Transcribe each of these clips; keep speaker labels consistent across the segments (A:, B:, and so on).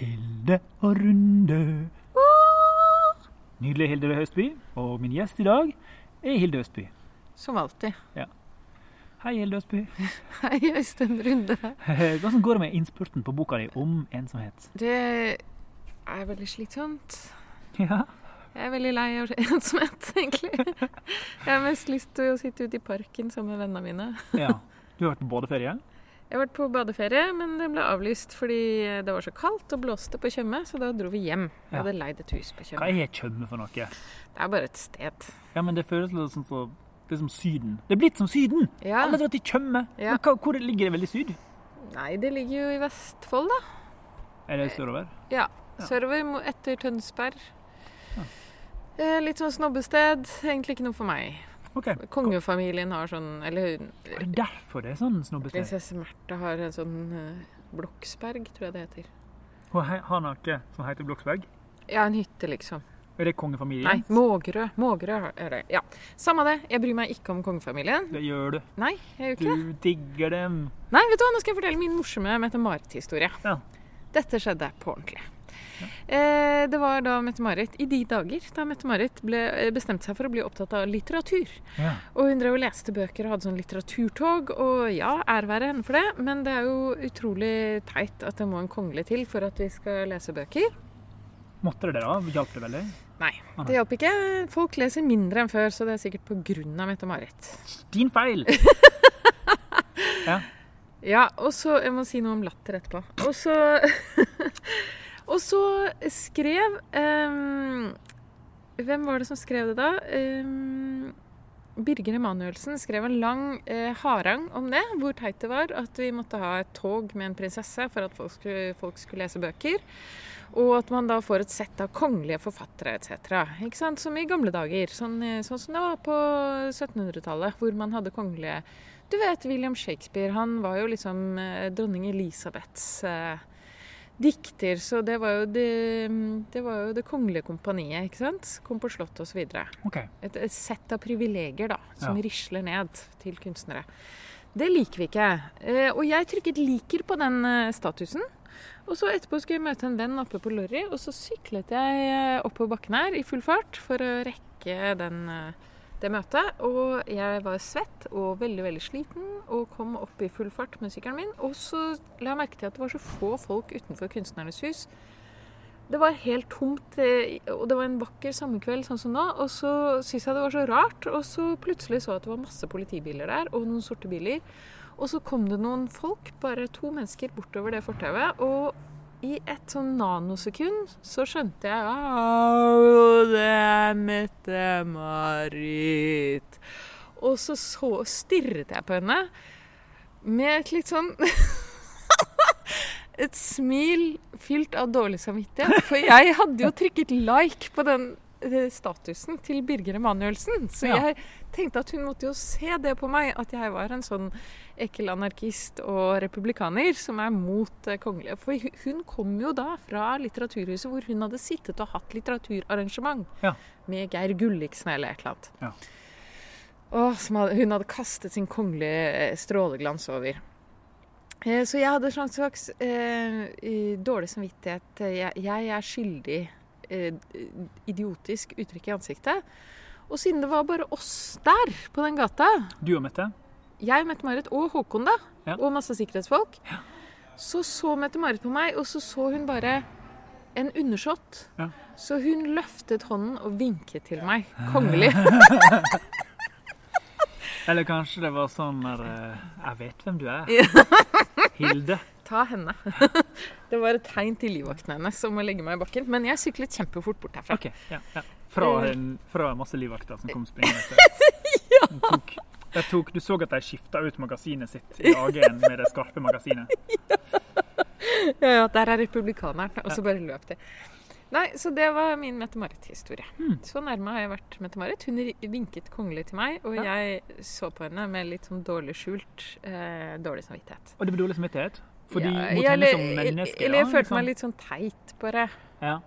A: Hilde og Runde. Nydelig Hilde Høstby. Og min gjest i dag er Hilde Østby.
B: Som alltid.
A: Hei, Hilde Østby.
B: Hei, Øystein Runde.
A: Hvordan går det med innspurten på boka di om ensomhet?
B: Det er veldig slitsomt.
A: Ja,
B: Jeg er veldig lei av ensomhet, egentlig. Jeg har mest lyst til å sitte ute i parken sammen med vennene mine.
A: ja. Du har vært på badeferie?
B: Jeg har vært på badeferie, men det ble avlyst fordi det var så kaldt og blåste på Tjøme, så da dro vi hjem. Jeg
A: Ja.
B: hadde leid et hus
A: Hva
B: på Tjøme.
A: er Tjøme for noe?
B: Det er bare et sted.
A: Ja, men det føles litt sånn som det er som Syden. Det er blitt som Syden!
B: Ja.
A: Alle drar til Tjøme.
B: Ja.
A: Men hva- Hvor ligger det veldig syd?
B: Nei, det ligger jo i Vestfold, da.
A: Er det sørover? Ja.
B: Sørover mo- etter Tønsberg.
A: Ja.
B: Eh, Litt sånn snobbested. Egentlig ikke noe for meg.
A: OK.
B: Kongefamilien har sånn Eller hun-
A: Er det derfor det er sånn snobbete?
B: prinsesse Märtha har en sånn eh, Bloksberg, tror jeg det heter.
A: Hun he- har noe som heter Bloksberg.
B: Ja, en hytte, liksom.
A: Er det kongefamilien?
B: Nei, Mågerø. Mågerø har- er det. Ja. Samme det. Jeg bryr meg ikke om kongefamilien.
A: Det gjør du.
B: Nei, jeg gjør ikke det.
A: Du digger dem.
B: Nei, vet du hva, nå skal jeg fortelle min morsomme Mette-Marit-historie.
A: Ja.
B: Dette skjedde på ordentlig. Eh, det var da Mette-Marit, i de dager da Mette-Marit ble- eh, bestemte seg for å bli opptatt av litteratur.
A: Ja.
B: Og hun drev og leste bøker og hadde sånn litteraturtog, og ja, ære være henne for det, men det er jo utrolig teit at det må en kongle til for at vi skal lese bøker.
A: Måtte det det, da? Hjalp det veldig?
B: Nei,
A: Ah, nei.
B: det hjalp ikke. Folk leser mindre enn før, så det er sikkert på grunn av Mette-Marit.
A: Din feil!
B: Ja, og så Jeg må si noe om latter etterpå. Og så Og så skrev ehm, Hvem var det som skrev det, da? Ehm, Birger Emanuelsen skrev en lang eh, harang om det, hvor teit det var at vi måtte ha et tog med en prinsesse for at folk skulle, folk skulle lese bøker. Og at man da får et sett av kongelige forfattere etc. Ikke sant? Som i gamle dager. Sånn, eh, sånn som det var på 1700-tallet, hvor man hadde kongelige Du vet, William Shakespeare, han var jo liksom eh, dronning Elisabeths eh, dikter, så det var jo det, mm, det var jo det kongelige kompaniet, ikke sant? Kom på slottet og så videre
A: OK.
B: et, et sett av privilegier da, som
A: Ja.
B: risler ned til kunstnere. Det liker vi ikke. Eh, og jeg trykket 'liker' på den eh, statusen. Og så etterpå skulle jeg møte en venn oppe på Lorry, og så syklet jeg eh, oppover bakken her i full fart for å rekke den, eh, det møtet. Og jeg var svett og veldig, veldig sliten og kom opp i full fart med sykkelen min. Og så la jeg merke til at det var så få folk utenfor Kunstnernes hus. Det var helt tomt, eh, og det var en vakker sommerkveld sånn som nå. Og så syntes jeg det var så rart, og så plutselig så jeg at det var masse politibiler der, og noen sorte biler. Og så kom det noen folk, bare to mennesker, bortover det fortauet. Og i et sånn nanosekund så skjønte jeg Au, det er Mette-Marit. Og så, så stirret jeg på henne med et litt sånn et smil fylt av dårlig samvittighet. For jeg hadde jo trykket like på den eh, statusen til Birger Emanuelsen. Så
A: Ja.
B: jeg tenkte at hun måtte jo se det på meg, at jeg var en sånn ekkel anarkist og republikaner som er mot eh, kongelige. For hu- hun kom jo da fra Litteraturhuset, hvor hun hadde sittet og hatt litteraturarrangement
A: Ja.
B: med Geir Gulliksen eller et eller annet.
A: Ja.
B: Åh, som hadde, hun hadde kastet sin kongelige eh, stråleglans over. Eh, Så jeg hadde en slags- slags eh, i- dårlig samvittighet. Jeg, jeg er skyldig eh, idiotisk uttrykk i ansiktet. Og siden det var bare oss der på den gata,
A: Du og Mette?
B: jeg, Mette-Marit og Håkon, da,
A: Ja.
B: og masse sikkerhetsfolk, så så Mette-Marit på meg, og så så hun bare en undersått.
A: Ja.
B: Så hun løftet hånden og vinket til meg. Kongelig.
A: Eller kanskje det var sånn der eh, Jeg vet hvem du er. Hilde.
B: Ta henne. Det var et tegn til livvakten hennes om å legge meg i bakken. Men jeg syklet kjempefort bort herfra.
A: OK. Ja, ja. Fra,
B: Eh.
A: en, fra masse livvakter som kom springende etter. De Tok, de tok, du så at de skifta ut magasinet sitt i AG-en med det skarpe magasinet.
B: Ja, ja, der er republikaneren. Og så bare løp de. Nei, så det var min Mette-Marit-historie.
A: Hmm.
B: Så nærme har jeg vært Mette-Marit. Hun ri- vinket kongelig til meg, og
A: Ja.
B: jeg så på henne med litt sånn dårlig skjult, eh, dårlig samvittighet.
A: Og det ble dårlig samvittighet. Fordi
B: Ja,
A: mot
B: jeg-
A: henne som
B: eller-
A: menneske
B: Eller jeg
A: ja,
B: følte
A: liksom. Mm.
B: meg litt sånn teit, bare.
A: ja.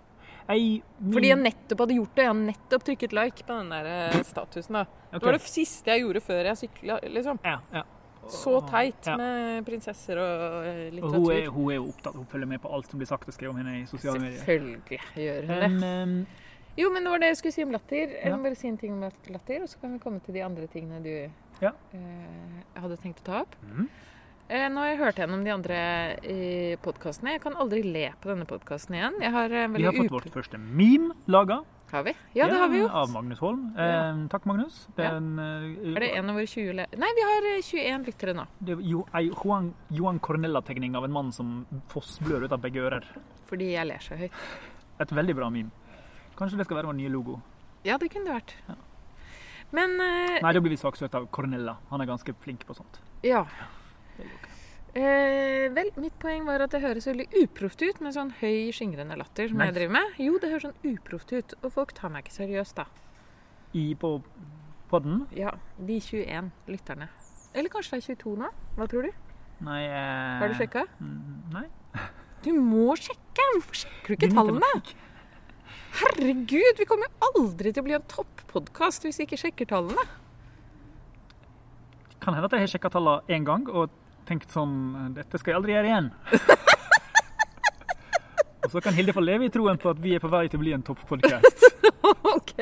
A: jeg, min,
B: Fordi jeg nettopp hadde gjort det. Jeg hadde nettopp trykket like på den der eh, statusen, da. Det
A: Ok.
B: var det siste jeg gjorde før jeg sykla, liksom.
A: ja, ja.
B: Så teit
A: Ja.
B: med prinsesser
A: Og
B: og eh,
A: hun er,
B: litteratur.
A: hun er jo opptatt, hun følger med på alt som blir sagt og skrevet om henne i sosiale medier.
B: Selvfølgelig gjør hun det.
A: Men ehm,
B: Jo, men det var det jeg skulle si om latter. Jeg
A: Ja.
B: må bare si en ting om lat- latter, og så kan vi komme til de andre tingene du
A: Ja.
B: eh, hadde tenkt å ta opp.
A: Mhm.
B: Eh, nå har jeg hørt gjennom de andre eh, podkastene. Jeg kan aldri le på denne podkasten igjen. Jeg har eh,
A: vi
B: veldig
A: har fått
B: up-
A: vårt første meme laga.
B: Har vi? Ja, det har vi jo.
A: Av Magnus Holm. Ehm, takk, Magnus. Det er, en, eh,
B: Er det en av våre 20 le... Nei, vi har eh, 21 lyttere nå.
A: det er jo ei Juan, Johan Cornella-tegning av en mann som fossblør ut av begge ører.
B: Fordi jeg ler så høyt.
A: Et veldig bra meme. Kanskje det skal være vår nye logo.
B: Ja, det kunne det vært. Men eh,
A: Nei, da blir vi saksøkt av Cornella. Han er ganske flink på sånt.
B: ja.
A: Det går ikke.
B: Eh, vel, mitt poeng var at det høres veldig uproft ut med sånn høy, skingrende latter som
A: Nei.
B: jeg driver med. Jo, det høres sånn uproft ut, og folk tar meg ikke seriøst da.
A: I på podden?
B: Ja, de 21 lytterne. Eller kanskje det er 22 nå? Hva tror du?
A: Nei eh,
B: Har du sjekka?
A: mm, Nei.
B: Du må sjekke! Hvorfor sjekker du ikke tallene?
A: Matematikk.
B: Herregud, vi kommer jo aldri til å bli en topppodkast hvis vi ikke sjekker tallene.
A: Kan hende at jeg har sjekka tallene én gang og tenkt sånn Dette skal jeg aldri gjøre igjen. og så kan Hilde få leve i troen på at vi er på vei til å bli en topppodkast.
B: ok,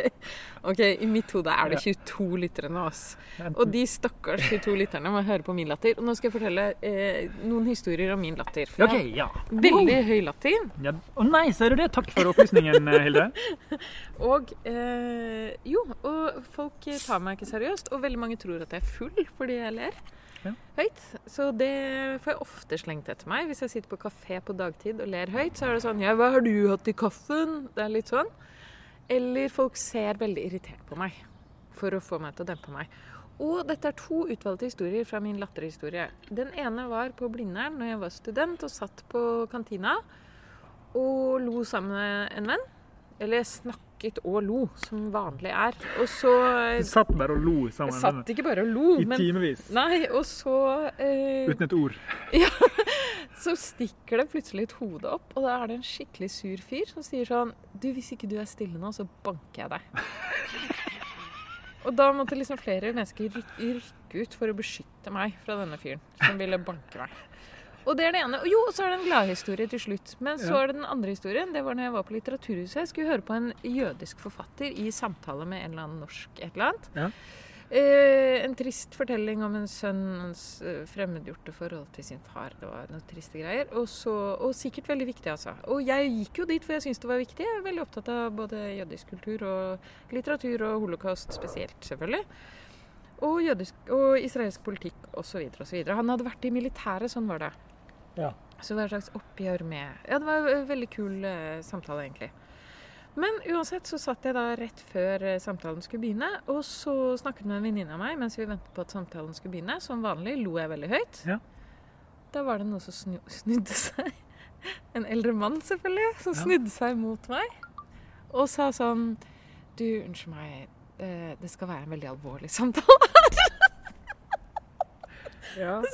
B: Ok, i mitt hode er det 22 lyttere nå, ass. Og de stakkars 22 lytterne må høre på min latter. Og nå skal jeg fortelle eh, noen historier om min latter. For
A: OK,
B: jeg
A: ja.
B: har veldig høy latter.
A: ja. Å nei, ser du det? Takk for opplysningen, eh, Hilde.
B: Og eh, jo, og folk tar meg ikke seriøst. Og veldig mange tror at jeg er full fordi jeg ler
A: Ja.
B: høyt. Så det får jeg ofte slengt etter meg. Hvis jeg sitter på kafé på dagtid og ler høyt, så er det sånn Ja, hva har du hatt i kaffen? Det er litt sånn. Eller folk ser veldig irritert på meg for å få meg til å dempe meg. Og dette er to utvalgte historier fra min latterhistorie. Den ene var på Blindern når jeg var student og satt på kantina og lo sammen med en venn. Eller snakket og lo, som vanlig er. Og så
A: Vi satt bare og lo
B: Jeg
A: sammen
B: satt ikke bare og lo,
A: i
B: men
A: timevis.
B: Nei, og så eh,
A: Uten et ord.
B: så stikker det plutselig et hode opp, og da er det en skikkelig sur fyr som sier sånn Du, hvis ikke du er stille nå, så banker jeg deg. Og da måtte liksom flere mennesker ryk- rykke ut for å beskytte meg fra denne fyren som ville banke meg. Og det er det ene. Og jo, og så er det en gladhistorie til slutt. Men så
A: Ja.
B: er det den andre historien. Det var når jeg var på Litteraturhuset. Jeg skulle høre på en jødisk forfatter i samtale med en eller annen norsk et eller annet.
A: Ja.
B: Eh, en trist fortelling om en sønns eh, fremmedgjorte forhold til sin far. Det var noen triste greier. Og, så, og sikkert veldig viktig, altså. Og jeg gikk jo dit, for jeg syntes det var viktig. Jeg er veldig opptatt av både jødisk kultur og litteratur, og holocaust spesielt, selvfølgelig. Og, jødisk, og israelsk politikk osv. osv. Han hadde vært i militæret, sånn var det.
A: Ja.
B: Så det var et slags oppgjør med Ja, det var en veldig kul eh, samtale, egentlig. Men uansett så satt jeg da rett før eh, samtalen skulle begynne, og så snakket med en venninne av meg mens vi ventet på at samtalen skulle begynne. Som vanlig lo jeg veldig høyt.
A: Ja.
B: Da var det noen som snu, snudde seg. En eldre mann, selvfølgelig, som snudde seg mot meg og sa sånn Du, unnskyld meg, eh, det skal være en veldig alvorlig samtale.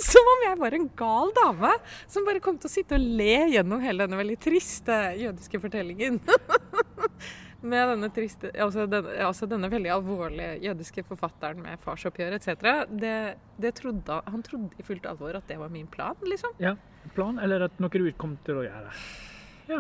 B: Som om jeg var en gal dame som bare kom til å sitte og le gjennom hele denne veldig triste jødiske fortellingen. med denne triste, altså denne, altså denne veldig alvorlige jødiske forfatteren med farsoppgjør etc. Det, det trodde, han- han trodde i fullt alvor at det var min plan, liksom.
A: Ja. Plan, eller at noe du kom til å gjøre.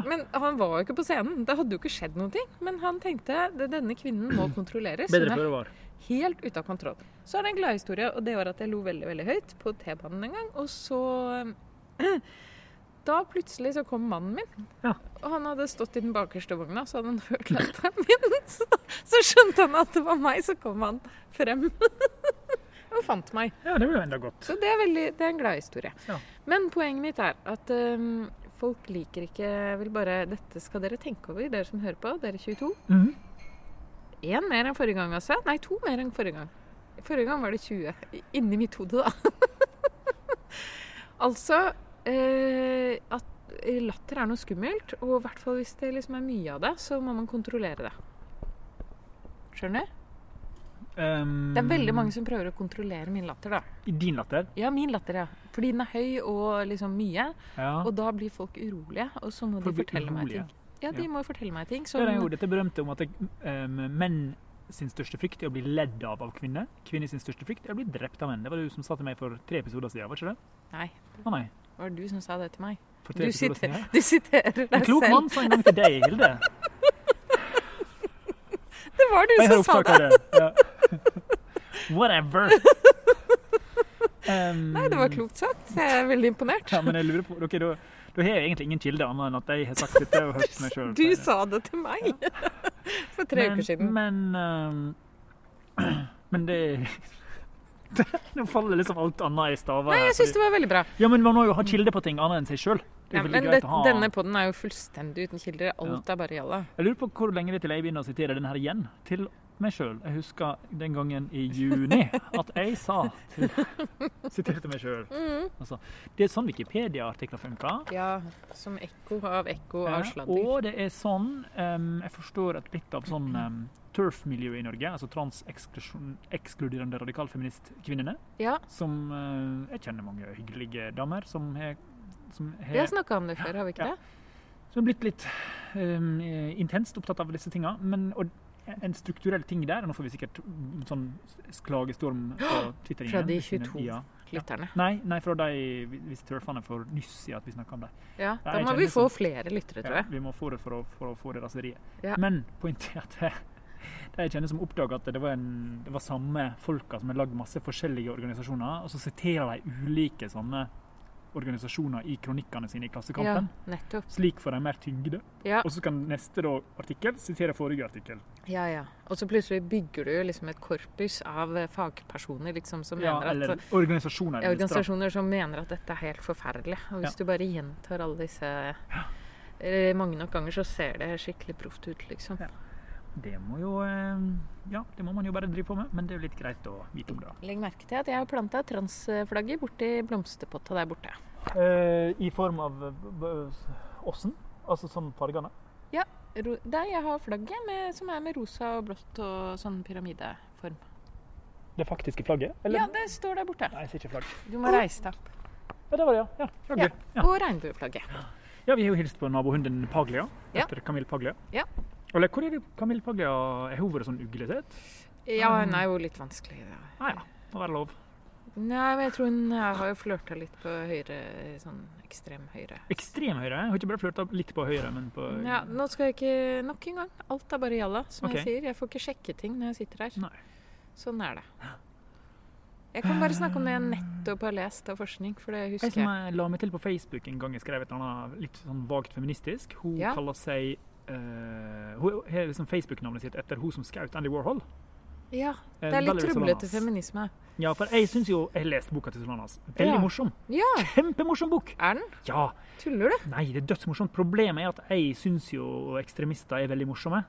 B: Men han var jo ikke på scenen. Det hadde jo ikke skjedd noen ting. Men han tenkte at denne kvinnen må kontrolleres. Hun
A: Bedre
B: er
A: før det var.
B: Helt ute av kontroll. Så er det en gladhistorie, og det var at jeg lo veldig veldig høyt på T-banen en gang. Og så Da plutselig så kom mannen min.
A: Ja.
B: Og han hadde stått i den bakerste vogna, så hadde han hørt latteren min. Så, så skjønte han at det var meg, så kom han frem og fant meg.
A: Ja, det var jo enda godt.
B: Så det er, veldig, det er en glad historie.
A: Ja.
B: Men poenget mitt er at øhm, folk liker ikke Jeg vil bare Dette skal dere tenke over, dere som hører på, dere 22.
A: Mhm.
B: Én mer enn forrige gang, altså. Nei, to mer enn forrige gang. Forrige gang var det 20. I- Inni mitt hode, da. altså eh, at latter er noe skummelt, og i hvert fall hvis det liksom er mye av det, så må man kontrollere det. Skjønner du?
A: Ehm,
B: Det er veldig mange som prøver å kontrollere min latter, da.
A: I din latter.
B: Ja, min latter, ja. Fordi den er høy og liksom mye.
A: Ja.
B: Og da blir folk urolige, og så må
A: Folk
B: de
A: blir
B: fortelle meg
A: urolige.
B: ting. Ja, de
A: Ja.
B: må fortelle meg ting.
A: Det er jo
B: Som,
A: dette berømte om at eh, menn sin største frykt er å bli ledd av av kvinner. Kvinner sin største frykt er å bli drept av menn. Det var det du som sa til meg for tre episoder siden, var ikke det?
B: Nei.
A: Å nei.
B: Var det du som sa det til meg?
A: For
B: Du
A: tre episoder
B: sitter-
A: siden.
B: Du siterer
A: En
B: deg
A: klok
B: selv.
A: mann sa en gang til deg, Hilde.
B: Det var du
A: Jeg har
B: som sa
A: opptak
B: det.
A: av det. Ja. Whatever. Um,
B: Nei, det var klokt sagt. Jeg er veldig imponert.
A: Ja, men jeg lurer på, ok, da, da har jeg egentlig ingen kilde annet enn at jeg har sagt dette og hørt meg sjøl.
B: Du sa det til meg for tre uker siden.
A: Men, um, men det Nå faller liksom alt annet i staver.
B: Nei,
A: her,
B: jeg syns det var veldig bra.
A: fordi- Ja, men man må jo ha kilde på ting annet enn seg sjøl.
B: Ja, men det, denne podden er jo fullstendig uten kilder. Alt er bare jalla.
A: Jeg lurer på hvor lenge det er til jeg begynner å sitere den her igjen. Til meg sjøl. Jeg husker den gangen i juni at jeg sa til, Siterte meg sjøl.
B: Mhm.
A: Altså, det er sånn Wikipedia-artikler funker.
B: Ja, som ekko av ekko
A: Ja,
B: av sladder.
A: Og det er sånn em, Jeg forstår at litt av sånn em, turf-miljø i Norge, altså trans-ekskluderende radikalfeministkvinnene,
B: Ja,
A: som eh, Jeg kjenner mange hyggelige damer som har som
B: vi har
A: har
B: snakka om det sånn. før, har vi ikke
A: Ja.
B: det?
A: som har blitt litt em, eh, intenst opptatt av disse tinga. Men, og en strukturell ting der og Nå får vi sikkert mm, sånn klagestorm på Twitter.
B: Fra
A: igjen,
B: de
A: hvis vi-
B: 22.
A: Ja.
B: Lytterne.
A: Nei, nei, fra de hvis turfene får nyss i at vi snakker om det.
B: Ja,
A: Ja,
B: da
A: jeg
B: må
A: kjenner
B: vi få
A: som-
B: flere lyttere, tror
A: Ja,
B: jeg.
A: vi må få det for å, for å få det raseriet.
B: Ja.
A: Men poenget er at det, det jeg kjenner som oppdaga at det var, en, det var samme folka som har lagd masse forskjellige organisasjoner, og så siterer de ulike sånne organisasjoner i kronikkene sine i
B: Ja,
A: Klassekampen.
B: nettopp.
A: Slik får de mer tyngde.
B: Ja,
A: Og så kan neste da, artikkel sitere forrige artikkel.
B: ja, ja. Og så plutselig bygger du jo liksom et korpus av eh, fagpersoner liksom, som
A: Ja,
B: mener at
A: eller organisasjoner.
B: Ja,
A: eller straff.
B: organisasjoner som mener at dette er helt forferdelig. Og hvis
A: Ja.
B: du bare gjentar alle disse eh, mange nok ganger, så ser det skikkelig proft ut, liksom.
A: Ja. Det må jo eh, Ja, det må man jo bare drive på med, men det er jo litt greit å vite om det. da.
B: Legg merke til at jeg har planta transflagget borti blomsterpotta der borte.
A: Eh, I form av eh, b- b- åssen? Altså sånn fargene?
B: Ro der jeg har flagget med, som er med rosa og blått og sånn pyramideform.
A: Det faktiske flagget?
B: Ja, det står der borte.
A: Nei, jeg ser ikke flagg.
B: Du må reise deg opp.
A: Ja, det var det, ja. Ja,
B: Ja.
A: flagget. ja.
B: Og regnbueflagget.
A: ja vi har jo hilst på nabohunden Paglia,
B: Ja.
A: etter Camille Paglia.
B: Ja.
A: Eller hvor er det Camille Paglia Er hun vært sånn uglesett?
B: Ja, hun er jo litt vanskelig. Da.
A: Nei Ah, ja, må være lov.
B: Nei, men jeg tror hun eh, har jo flørta litt på høyre, sånn ekstrem høyre.
A: Ekstrem høyre. Jeg har ikke bare flørta litt på høyre, men på
B: Ja, nå skal jeg ikke Nok en gang. Alt er bare jalla, som
A: Ok.
B: jeg sier. Jeg får ikke sjekke ting når jeg sitter her.
A: Nei.
B: Sånn er det. Jeg kan bare snakke om det jeg nettopp har lest av forskning, for det
A: Jeg
B: husker
A: som
B: jeg.
A: jeg la meg til på Facebook en gang jeg skrev et eller annet litt sånn vagt feministisk. Hun
B: Ja.
A: kaller seg eh, Hun har liksom Facebook-navnet sitt etter hun som skjøt Andy Warhol.
B: Ja,
A: Eh,
B: det er litt
A: Valerie
B: trøblete
A: Solanas.
B: feminisme.
A: Ja, for jeg syns jo Jeg har lest boka til Solanas. Veldig
B: Ja.
A: morsom.
B: Ja,
A: Kjempemorsom bok!
B: er den?
A: Ja.
B: Tuller du?
A: Nei, det er dødsmorsomt. Problemet er at jeg syns jo ekstremister er veldig morsomme.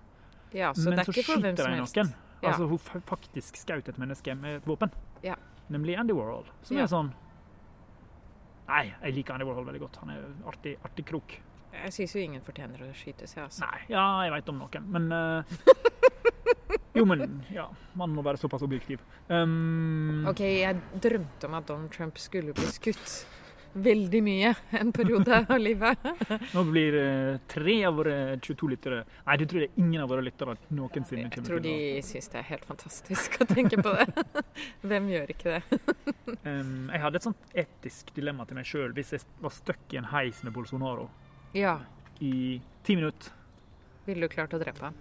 B: Ja, så
A: men
B: det er
A: så
B: ikke for
A: skyter
B: hvem som
A: de
B: helst.
A: noen.
B: Ja.
A: Altså, hun fa- faktisk skjøt et menneske med et våpen.
B: Ja.
A: Nemlig Andy Warhol. Som
B: Ja.
A: er sånn Nei, jeg liker Andy Warhol veldig godt. Han er artig, artig krok.
B: Jeg syns jo ingen fortjener å skytes, jeg, altså.
A: Nei, ja, jeg veit om noen, men eh, Jo, men ja, man må være såpass objektiv. Um,
B: OK, jeg drømte om at Donald Trump skulle bli skutt. Veldig mye en periode av livet.
A: Nå blir eh, tre av våre 22 lyttere Nei, du tror det er ingen av våre lyttere noensinne
B: Jeg
A: kommer
B: tror
A: til å
B: de syns det er helt fantastisk å tenke på det. Hvem gjør ikke det?
A: Um, jeg hadde et sånt etisk dilemma til meg sjøl hvis jeg var stuck i en heis med Bolsonaro
B: Ja,
A: i ti minutter.
B: ville du klart å drepe ham?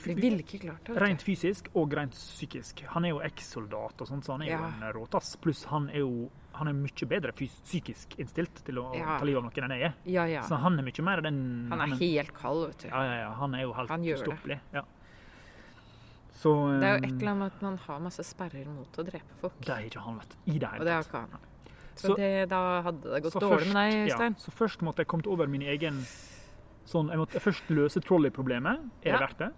B: Vi ville ikke klart det. vet
A: Rent fysisk og rent psykisk. Han er jo ekssoldat og sånt, så han er jo
B: Ja.
A: en råtass. Pluss han er jo han er mye bedre fys psykisk innstilt til å
B: Ja.
A: ta livet av noen enn jeg er.
B: du. Ja, ja.
A: Så han er mye mer den
B: Han er helt kald, vet du.
A: sånn, Ja, ja, ja. Han er jo helt
B: Han gjør det.
A: ustoppelig. Ja. Så
B: Det er jo
A: um,
B: et eller annet med at man har masse sperrer mot å drepe folk.
A: Det er ikke han, vet du. I det
B: Og
A: hele
B: det
A: tatt.
B: har ikke han. Så
A: Så-
B: det, da hadde det gått
A: Så
B: dårlig med deg,
A: først-
B: Øystein.
A: Ja, så først måtte jeg kommet over min egen sånn, Jeg måtte først løse trolley-problemet. Er
B: Ja.
A: det verdt det?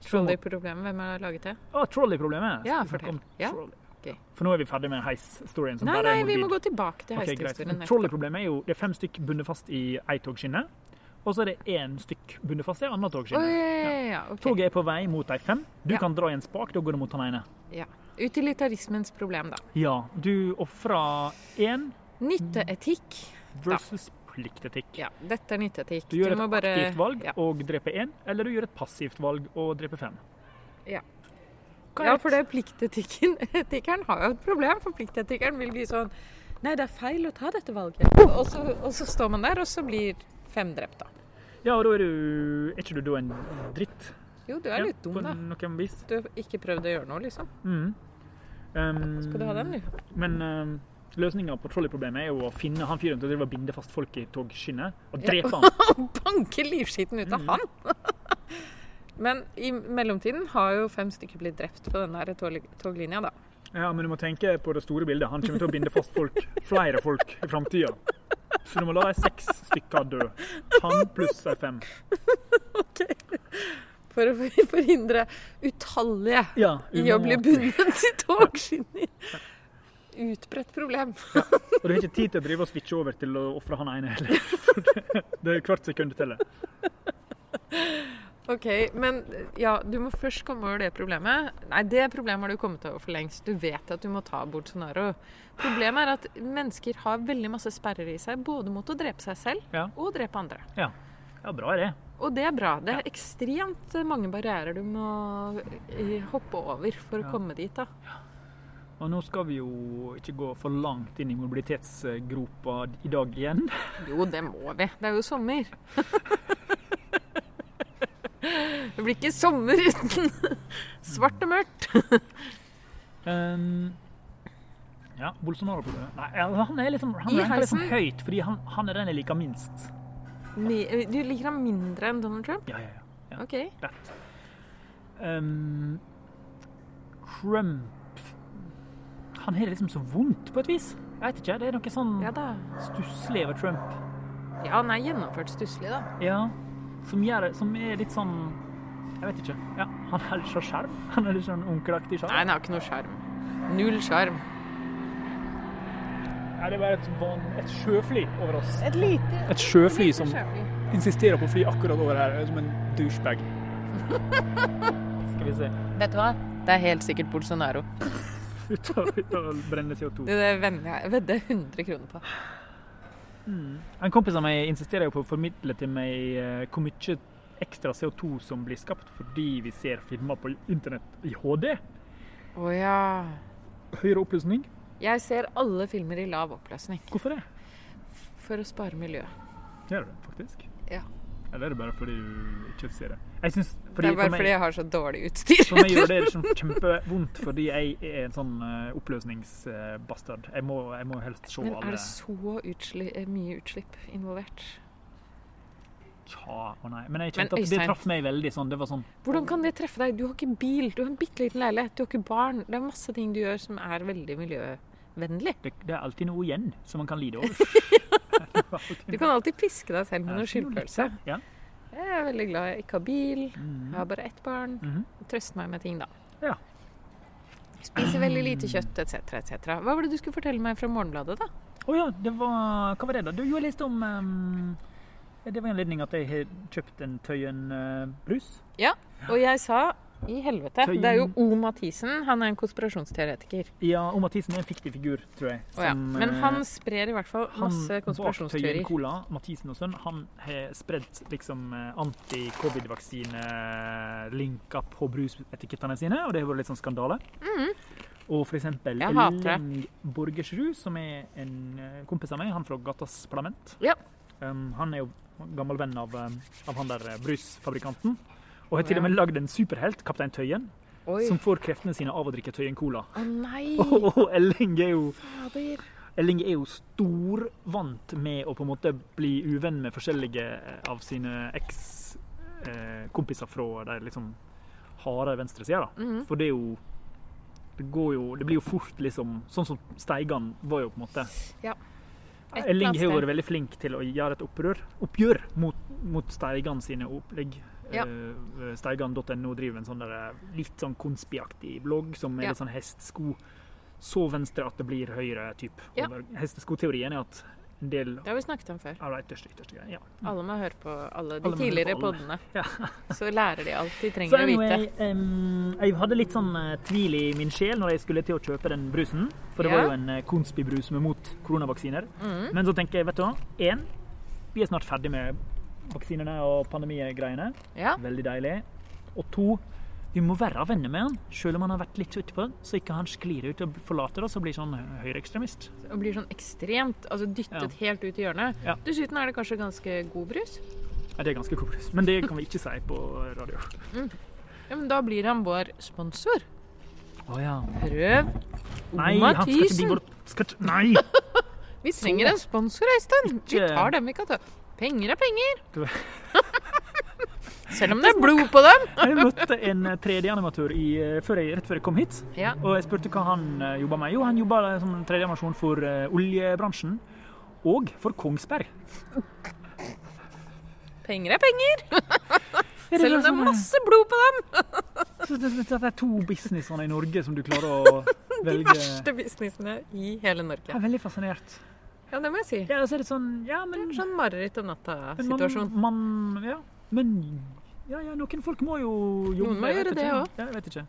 A: Så må-
B: Trolley-problemet, hvem har laget det?
A: Å, trolley-problemet! Skal
B: Ja,
A: vi snakke
B: fortell.
A: om
B: Ja.
A: trolley?
B: Gøy.
A: For nå er vi ferdig med heis-storyen. som
B: Nei,
A: bare
B: nei,
A: er
B: vi må
A: morbid.
B: gå tilbake til
A: Ok, greit.
B: heishistorien.
A: Men Trolley-problemet er jo det er fem stykk bundet fast i ei togskinne. Og så er det én stykk bundet fast i ei anna
B: Å,
A: togskinne.
B: ja, ja, ja, ok.
A: Toget er på vei mot de fem. Du
B: Ja.
A: kan dra i en spak, da går det mot han ene.
B: Ja. Utilitarismens problem, da.
A: Ja, du ofrer én
B: Nytteetikk.
A: versus pliktetikk.
B: Ja, dette er nytteetikk.
A: Du gjør
B: må
A: et
B: bare-
A: aktivt valg
B: Ja.
A: og dreper én, eller du gjør et passivt valg og dreper fem.
B: Ja. Ja, for det er pliktetikkeren har jo et problem, for pliktetikkeren vil bli sånn Nei, det er feil å ta dette valget. Og så, og så står man der, og så blir fem drept, da.
A: Ja, og da er du Er ikke du da en dritt?
B: Jo, du er litt dum,
A: på
B: da.
A: noen vis.
B: Du har ikke prøvd å gjøre noe, liksom.
A: Mm. Um,
B: Skal du ha den, du?
A: Men um, løsninga på trolleyproblemet er jo å finne han fyren til å drive og binde fast folk i togskinnet og
B: Ja.
A: drepe han.
B: Banke livskiten ut av
A: Mm.
B: han! Men i mellomtiden har jo fem stykker blitt drept på den der tog- toglinja, da.
A: Ja, men du må tenke på det store bildet. Han kommer til å binde fast folk, flere folk i framtida. Så du må la de seks stykker dø. Han pluss de fem.
B: For å forhindre utallige
A: Ja,
B: i å bli
A: umåtelig.
B: bundet i togskinner. Utbredt problem.
A: Og du har ikke tid til å drive og switche over til å ofre han ene heller. For det- Det er hvert sekund det teller.
B: Ok, men eh, ja, du må først komme over det problemet. Nei, det problemet har du kommet over for lengst. Du vet at du må ta Bolsonaro. Problemet er at mennesker har veldig masse sperrer i seg, både mot å drepe seg selv
A: Ja.
B: og drepe andre.
A: Ja, bra er det.
B: Og det er bra. Det er ekstremt eh, mange barrierer du må eh, hoppe over for å
A: Ja.
B: komme dit, da.
A: Og nå skal vi jo ikke gå for langt inn i mobilitetsgropa i dag igjen.
B: Jo, det må vi. Det er jo sommer. Det blir ikke sommer uten svart og mørkt.
A: Ehm, ja, Bolsonaro-problemet. Nei, ja, han er liksom, han
B: I
A: ranker liksom
B: heisen.
A: høyt, fordi han, han er den jeg liker minst.
B: Mi- eh, Du liker ham mindre enn Donald Trump?
A: Ja, ja, ja.
B: OK.
A: That. Ehm, Trump Han har det liksom så vondt, på et vis. Jeg vet ikke, det er noe sånn
B: Ja da.
A: stusslig over Trump.
B: Ja, han er gjennomført stusslig, da.
A: Ja, som, gjør, som er litt sånn Jeg vet ikke. Ja, han er litt sånn skjerm. Han er litt sånn onkelaktig
B: Nei,
A: skjerm.
B: han har ikke noe sjarm. Null sjarm.
A: Ja, det var et, van, et sjøfly over oss.
B: Et lite
A: Et sjøfly som insisterer på å fly akkurat over her, som en douchebag. Skal vi se.
B: Vet du hva? Det er helt sikkert Bolsonaro.
A: Ut av, ut av å brenne CO2.
B: Det er venner jeg vedder 100 kroner på.
A: En kompis av meg insisterer jo på å formidle til meg eh, hvor mye ekstra CO2 som blir skapt fordi vi ser filmer på internett i HD.
B: Å ja.
A: Høyere oppløsning.
B: Jeg ser alle filmer i lav oppløsning
A: Hvorfor det?
B: for å spare miljøet.
A: Gjør du det, faktisk?
B: Ja.
A: Eller er det bare fordi du ikke ser det? Jeg synes, fordi
B: det er bare
A: for meg,
B: fordi jeg har så dårlig utstyr.
A: For meg gjør det liksom kjempevondt, fordi jeg er en sånn oppløsningsbastard. Jeg, må- jeg må helst se
B: Men er
A: alle
B: det så utsli eh, mye utslipp involvert?
A: Tja og nei. Men jeg
B: Men
A: kjente at det
B: Øystein-
A: traff meg veldig sånn. Det var sånn
B: Hvordan kan det treffe deg? Du har ikke bil, du har en bitte liten leilighet, du har ikke barn. Det er masse ting du gjør som er veldig miljøvennlig.
A: Det, det er alltid noe igjen som man kan lide over.
B: Du kan alltid piske deg selv med
A: Er det noe
B: noe
A: litt
B: skyldfølelse.
A: Ja.
B: Jeg er veldig glad jeg ikke har bil, jeg
A: Mhm.
B: har bare ett barn.
A: Mhm.
B: Trøst meg med ting, da.
A: Ja.
B: Spiser veldig lite kjøtt, etc., etc. Hva var det du skulle fortelle meg fra Morgenbladet, da?
A: Å ja, det var Hva var det, da? Du, jeg leste om eh, Det var en anledning at jeg har kjøpt en eh, Tøyen-brus.
B: Og jeg sa i helvete.
A: Tøyen.
B: Det er jo O. Mathisen. Han er en konspirasjonsteoretiker.
A: ja, og Mathisen er en fiktiv figur, tror jeg.
B: Å ja.
A: som,
B: Men
A: eh,
B: han sprer i hvert fall
A: Han
B: masse
A: Mm. bak Tøyen
B: konspirasjonsteorier.
A: Cola, Mathisen og sønn, han har spredt liksom eh, anti-covid-vaksine-linker på brusetikettene sine, og det har vært litt sånn skandale.
B: Mm.
A: Og for eksempel
B: Jeg hater det.
A: Elling Borgersrud, som er en eh, kompis av meg, han fra Gatas Parlament.
B: Ja.
A: Um, han er jo gammel venn av, eh, av han der eh, brusfabrikanten. Og har til
B: Ja.
A: og med lagd en superhelt, Kaptein Tøyen,
B: Oi.
A: som får kreftene sine av å drikke Tøyen Cola.
B: Å nei!
A: Og Elling er jo
B: Fader.
A: Elling er jo storvant med å på en måte bli uvenn med forskjellige eh, av sine eks-kompiser fra de liksom harde venstresida. da.
B: Mhm.
A: For det er jo det, går jo det blir jo fort liksom Sånn som Steigan var jo, på en måte.
B: Ja. Et
A: Elling
B: plass
A: har jo
B: der.
A: vært veldig flink til å gjøre et opprør, oppgjør mot, mot Steigan sine opplegg.
B: Ja.
A: Eh, Steigan.no driver en sånn der, litt sånn konspiaktig blogg som er
B: Ja.
A: litt sånn hestesko så venstre at det blir høyre typ.
B: Ja.
A: over- Hesteskoteorien er at en del
B: Det har vi snakket om før.
A: av de ytterste, ytterste greiene. Ja.
B: Alle må høre på alle de
A: Mm. Alle må høre
B: tidligere
A: på alle.
B: podene.
A: Ja.
B: Så lærer de alt de
A: Så
B: trenger å vite.
A: anyway, em, jeg hadde litt sånn eh, tvil i min sjel når jeg skulle til å kjøpe den brusen. For det
B: Ja.
A: var jo en eh, konspibrus som er mot koronavaksiner.
B: Mhm.
A: Men så tenker jeg, vet du hva, én, vi er snart ferdig med vaksinene og pandemigreiene.
B: Ja.
A: Veldig deilig. Og to, Du må være venner med han, selv om han har vært litt utpå, så ikke han sklir ut og forlater oss og blir sånn høyreekstremist.
B: Og blir sånn ekstremt altså dyttet helt ut i hjørnet.
A: Ja.
B: Dessuten er det kanskje ganske god brus.
A: Ja, det er ganske kokt, men det kan vi ikke si på radio.
B: Ja, men da blir han vår sponsor.
A: Å ja.
B: Prøv
A: Nei, han skal ikke bli
B: Mathisen.
A: vår skal ikke, Nei!
B: Vi trenger en sponsor, Øystein. Vi
A: Ikke-
B: tar dem vi kan ta. Penger er penger.
A: Du-
B: Selv om det er blod på dem.
A: Jeg møtte en 3D-animatør i- eh, før jeg- rett før jeg kom hit.
B: Ja.
A: Og jeg spurte hva han eh, jobba med. Jo, han jobba som 3D-animasjon for eh, oljebransjen. Og for Kongsberg.
B: Penger er penger. Selv om det er masse blod på dem.
A: Så det- det- Dette er to businesser i Norge som du klarer å
B: De
A: velge.
B: verste businessene i hele
A: Jeg er
B: Norge.
A: veldig fascinert.
B: Ja, det må jeg si.
A: Ja, og så er det sånn Ja,
B: Det er
A: men
B: en sånn mareritt om
A: men man-
B: natta-situasjon.
A: Man, ja. Men ja, ja, noen folk må jo jobbe
B: Noen må
A: jeg vet
B: gjøre det
A: ikke.
B: også.
A: Ja, jeg vet ikke.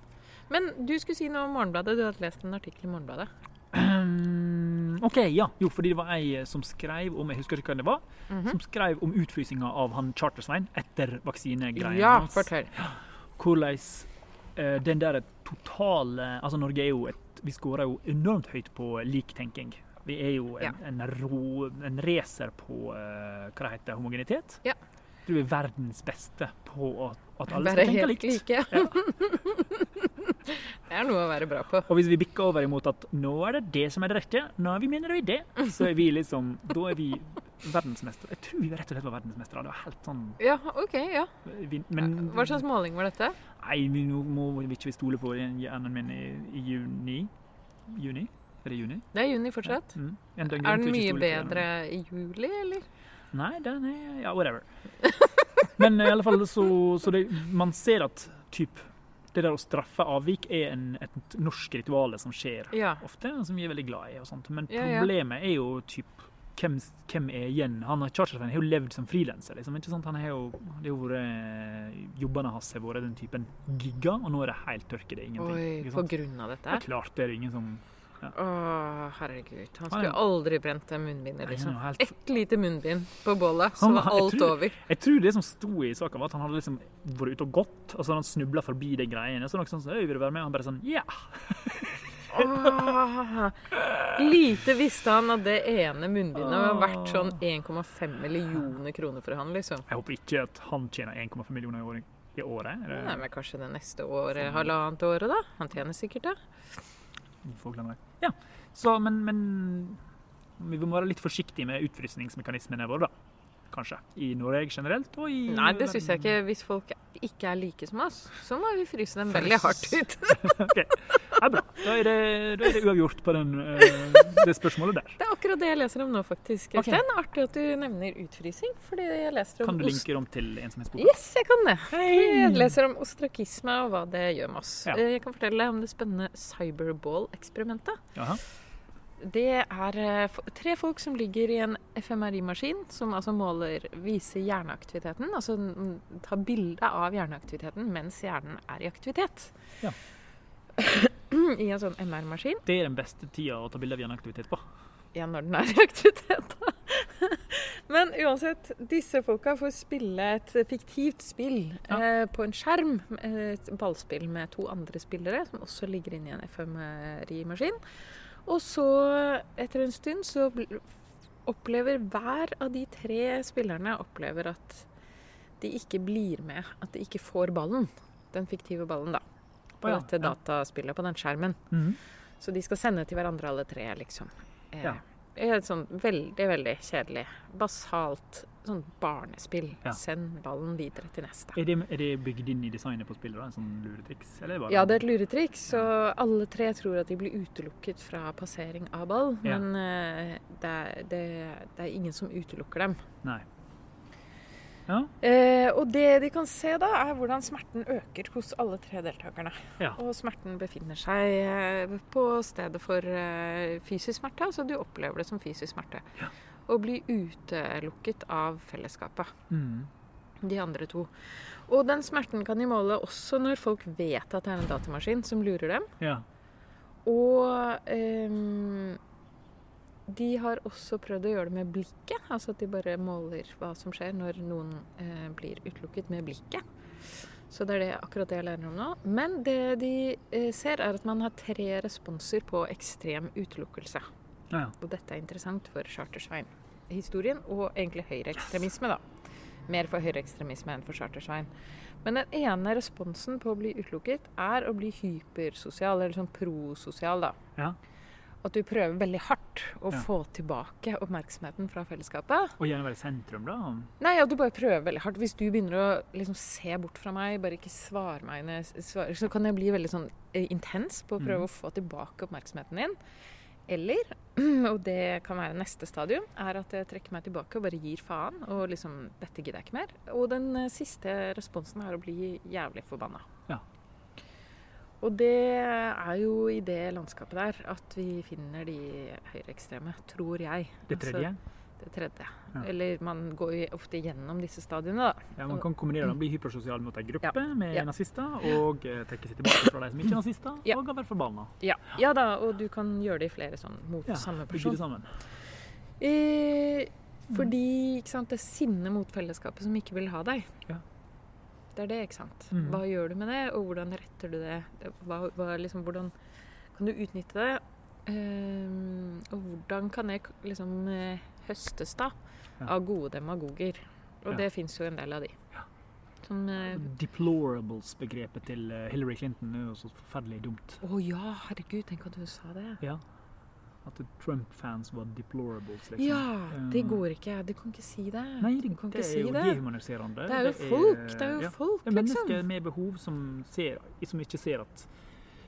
B: Men du skulle si noe om Morgenbladet. Du hadde lest en artikkel i Morgenbladet.
A: Ehm, OK, ja. Jo, fordi det var ei eh, som skrev om Jeg husker ikke hvem det var.
B: Mhm.
A: Som skrev om utfrysinga av han Chartersvein etter vaksinegreia
B: Ja, fortell.
A: Hvordan eh, den der totale Altså, Norge er jo et Vi skårer jo enormt høyt på liktenking. Vi er jo en, en, rå, en racer på eh, hva det heter, homogenitet.
B: Ja.
A: Du er verdens beste på at, at alle
B: Være
A: skal tenke likt.
B: helt like. det er noe å være bra på.
A: Og hvis vi bikker over imot at nå er det det som er det rette, nå er vi mener vi det, så er vi liksom Da er vi verdensmestere. Jeg tror vi rett og slett var verdensmestere. Det var helt sånn
B: Ja, OK. ja.
A: vi- Men
B: Hva slags måling var dette?
A: Nei, vi må, må vi ikke stole på hjernen min i, i juni. Juni? Er det juni?
B: Det er juni fortsatt.
A: Mm. En døgngrunn
B: Er
A: til å ikke
B: den mye
A: stole på hjernen.
B: bedre i juli, eller?
A: Nei, den er Ja, whatever. Men eh, i alle fall så, så det, man ser at typ det der å straffe avvik er en, et norsk ritual som skjer
B: Ja.
A: ofte, som vi er veldig glad i. og sånt. Men
B: Ja, ja.
A: problemet er jo typ, hvem, hvem er igjen? Han har, Charterfan har jo levd som frilanser. Liksom, ikke sant? Han har jo, det har jo vært, jobbene hans har vært den typen giga, og nå er det helt tørke. Det er ingenting.
B: Oi,
A: ikke
B: på
A: sant?
B: grunn av
A: Det
B: dette?
A: er klart det er ingen som
B: Å, herregud.
A: Han
B: Han
A: er-
B: skulle aldri brent det
A: Nei,
B: munnbindet,
A: han er
B: liksom.
A: jo helt-
B: Ett lite munnbind på bålet, så
A: Han
B: var
A: var- jeg
B: alt
A: tror-
B: over.
A: Jeg tror det som sto i saken, var at han hadde liksom vært ute og gått, og så hadde han snubla forbi de greiene. Så var det noen sånn «Øy, 'Vil du være med?' Og han bare sånn 'Ja'.
B: Åh. Lite visste han at det ene munnbindet var verdt sånn 1,5 millioner kroner for han, liksom.
A: Jeg håper ikke at han tjener 1,5 millioner i året. I året. Er
B: Nei,
A: det-
B: men kanskje det neste året, halvannet året, da? Han tjener sikkert det.
A: Vi får glemme det. Ja. Så, men, men vi må være litt forsiktige med utfrysningsmekanismene våre, da. Kanskje. I Norge generelt, og i
B: Nei, det syns jeg ikke. Hvis folk ikke er like som oss, så må vi fryse dem veldig hardt ut.
A: Det er bra. Da er det, da er det uavgjort på den, eh, det spørsmålet der.
B: Det er akkurat det jeg leser om nå, faktisk.
A: Ok.
B: Øystein. Artig at du nevner utfrysing, fordi jeg leser om
A: Kan du
B: ost-
A: linke om til ensomhetsboka?
B: Yes, jeg kan det. Jeg
A: Hei!
B: leser om ostrakisme og hva det gjør med oss.
A: Ja.
B: Eh, Jeg kan fortelle om det spennende cyberball-eksperimentet.
A: Jaha.
B: Det er eh, fo- tre folk som ligger i en FMRI-maskin, som altså måler, viser hjerneaktiviteten. Altså mm, tar bilde av hjerneaktiviteten mens hjernen er i aktivitet.
A: Ja.
B: I en sånn MR-maskin.
A: Det er den beste tida å ta bilde av hjerneaktivitet på.
B: Ja, når den er i aktivitet, da. Men uansett, disse folka får spille et fiktivt spill
A: Ja.
B: eh, på en skjerm. Et ballspill med to andre spillere, som også ligger inne i en FMRI-maskin. Og så, etter en stund, så bl- opplever hver av de tre spillerne opplever at de ikke blir med. At de ikke får ballen. Den fiktive ballen, da. På
A: Å ja,
B: dette
A: ja.
B: dataspillet, på den skjermen.
A: Mhm.
B: Så de skal sende til hverandre alle tre, liksom. Eh,
A: Ja.
B: det er Et sånn veldig, veldig kjedelig, basalt sånn barnespill.
A: Ja.
B: Send ballen videre til neste.
A: Er det, er det bygd inn i designet på spillet, da? En sånn luretriks? Eller bare
B: Ja, det er et luretriks, så alle tre tror at de blir utelukket fra passering av ball.
A: Ja.
B: Men eh, det, er- det, det er ingen som utelukker dem.
A: Nei. Ja.
B: Eh, og det de kan se da, er hvordan smerten øker hos alle tre deltakerne.
A: Ja.
B: Og smerten befinner seg eh, på stedet for eh, fysisk smerte, altså du opplever det som fysisk smerte.
A: Ja.
B: Og blir utelukket av fellesskapet,
A: Mm.
B: de andre to. Og den smerten kan de måle også når folk vet at det er en datamaskin som lurer dem.
A: ja.
B: Og ehm, de har også prøvd å gjøre det med blikket. Altså at de bare måler hva som skjer når noen eh, blir utelukket med blikket. Så det er det, akkurat det jeg lærer om nå. Men det de eh, ser, er at man har tre responser på ekstrem utelukkelse.
A: Ja, ja.
B: Og dette er interessant for Charter-Svein. Historien og egentlig høyreekstremisme, da. Mer for høyreekstremisme enn for Charter-Svein. Men den ene responsen på å bli utelukket er å bli hypersosial, eller sånn prososial, da.
A: Ja.
B: At du prøver veldig hardt å
A: Ja.
B: få tilbake oppmerksomheten fra fellesskapet.
A: Og gjerne være i sentrum, da.
B: Nei, ja, du bare prøver veldig hardt. Hvis du begynner å liksom se bort fra meg, bare ikke svare meg når jeg svarer, så kan jeg bli veldig sånn eh, intens på å prøve
A: Mhm.
B: å få tilbake oppmerksomheten din. Eller, og det kan være neste stadium, er at jeg trekker meg tilbake og bare gir faen. Og liksom Dette gidder jeg ikke mer. Og den eh, siste responsen er å bli jævlig forbanna.
A: Ja.
B: Og det er jo i det landskapet der at vi finner de høyreekstreme, tror jeg.
A: Det
B: Altså,
A: tredje.
B: det tredje.
A: Ja.
B: Eller man går jo ofte gjennom disse stadiene, da.
A: Ja, man kan kombinere det. Bli hypersosial mot ei gruppe med
B: Ja.
A: nazister, og eh, trekke seg tilbake fra de som ikke er nazister,
B: Ja.
A: og være forbanna.
B: Ja. ja da, og du kan gjøre det i flere sånn mot
A: Ja,
B: samme
A: Bygge
B: person.
A: det Mm. sammen.
B: Eh, fordi ikke sant, det er sinne mot fellesskapet som ikke vil ha deg.
A: Ja.
B: Det er det, ikke sant.
A: Mhm.
B: Hva gjør du med det, og hvordan retter du det? Hva, hva, liksom, hvordan kan du utnytte det? Ehm, og hvordan kan det liksom eh, høstes da
A: Ja.
B: av gode demagoger? Og
A: Ja.
B: det fins jo en del av de.
A: Ja.
B: Som eh,
A: Deplorables-begrepet til eh, Hillary Clinton er jo så forferdelig dumt.
B: Å ja, herregud, tenk at du sa det.
A: Ja. At Trump-fans var deplorables, liksom.
B: Ja, det
A: Eh,
B: går ikke. Du kan ikke si det.
A: Nei,
B: du
A: det,
B: kan
A: det er
B: ikke si
A: jo
B: det.
A: dehumaniserende.
B: Det er jo folk, det er jo
A: ja.
B: folk,
A: Det er mennesker
B: liksom.
A: med behov som, ser, som ikke ser at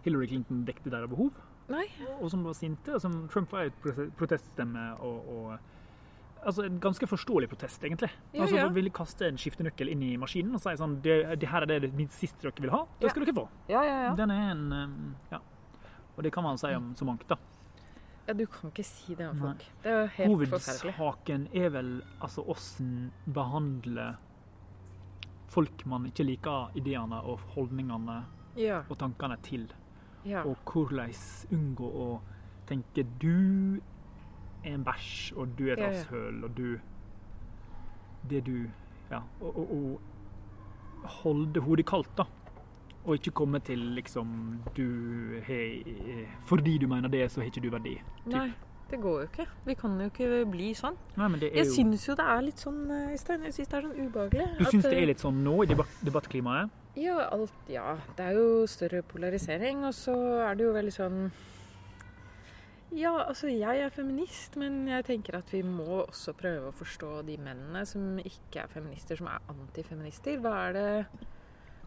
A: Hillary Clinton dekte deres behov,
B: Nei.
A: og som var sinte. og Som Trump var jo et prote- proteststemme og, og Altså en ganske forståelig protest, egentlig.
B: Ja,
A: altså,
B: ja.
A: Man ville kaste en skiftenøkkel inn i maskinen og si sånn det, det her er det min siste dere vil ha, det skal dere få.
B: Ja, ja, ja.
A: Den er en um, Ja. Og det kan man si om så mangt, da.
B: Ja, du kan ikke si det om
A: Nei.
B: folk. Det er jo helt forferdelig.
A: Hovedsaken er vel altså åssen behandle folk man ikke liker ideene og holdningene
B: Ja,
A: og tankene til,
B: ja.
A: og hvordan unngå å tenke du er en bæsj, og du er et
B: Ja, ja.
A: rasshøl, og du Det du Ja. Og, og, og holde hodet kaldt, da. Og ikke komme til liksom du har Fordi du mener det, så har ikke du verdi.
B: Nei, det går jo ikke. Vi kan jo ikke bli sånn.
A: Nei, men det er
B: Jeg
A: jo
B: syns jo det er litt sånn, eh, Øystein, jeg syns det er sånn ubehagelig.
A: Du syns det er litt sånn nå i debatt debattklimaet?
B: Ja, alt, ja. Det er jo større polarisering, og så er det jo veldig sånn Ja, altså jeg er feminist, men jeg tenker at vi må også prøve å forstå de mennene som ikke er feminister, som er antifeminister. Hva er det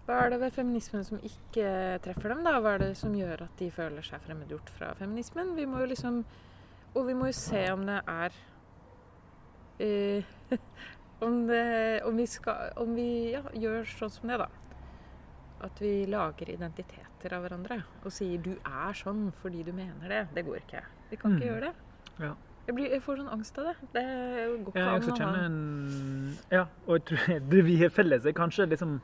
B: hva er det ved feminismen som ikke treffer dem, da? Hva er det som gjør at de føler seg fremmedgjort fra feminismen? Vi må jo liksom Og vi må jo se om det er eh, om, det, om vi skal Om vi ja, gjør sånn som det, da. At vi lager identiteter av hverandre og sier 'du er sånn fordi du mener det'. Det går ikke. Vi kan ikke
A: Mm.
B: gjøre det.
A: Ja.
B: Jeg, blir, jeg får sånn angst av det. Det går ikke
A: Ja, jeg
B: an
A: også
B: å ha
A: kjenner en Ja, og jeg tror det vi har felles, er kanskje liksom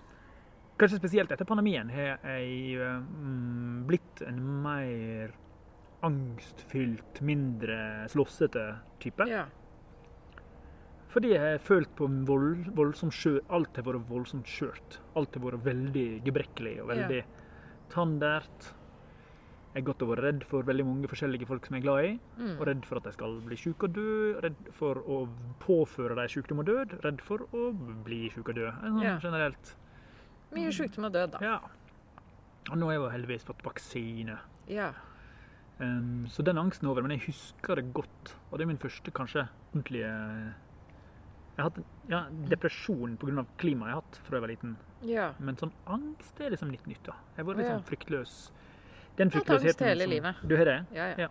A: Kanskje spesielt etter pandemien har jeg eh, mm, blitt en mer angstfylt, mindre slåssete type.
B: ja.
A: Fordi jeg har følt på vold, voldsomt skjør, Alt har vært voldsomt skjørt. Alt har vært veldig gebrekkelig og veldig tandert. Jeg har gått og vært redd for veldig mange forskjellige folk som jeg er glad i.
B: Mm.
A: Og redd for at de skal bli syke og dø. Redd for å påføre dem sykdom og død. Redd for å bli syk og dø. En Sånn
B: Ja.
A: generelt.
B: Mye sjukdom og død, da.
A: Ja. Og nå har jeg jo heldigvis fått vaksine.
B: Ja.
A: Ehm, så den angsten er over, men jeg husker det godt. Og det er min første kanskje ordentlige Jeg har hatt en- ja, depresjon pga. klimaet jeg har hatt fra jeg var liten.
B: ja.
A: Men sånn angst er liksom litt nytt. da. Jeg har vært litt
B: Ja.
A: sånn fryktløs. Den
B: Jeg har hatt angst
A: fryktløsheten
B: hele
A: som-
B: livet.
A: Du har det?
B: Ja, ja.
A: Ja.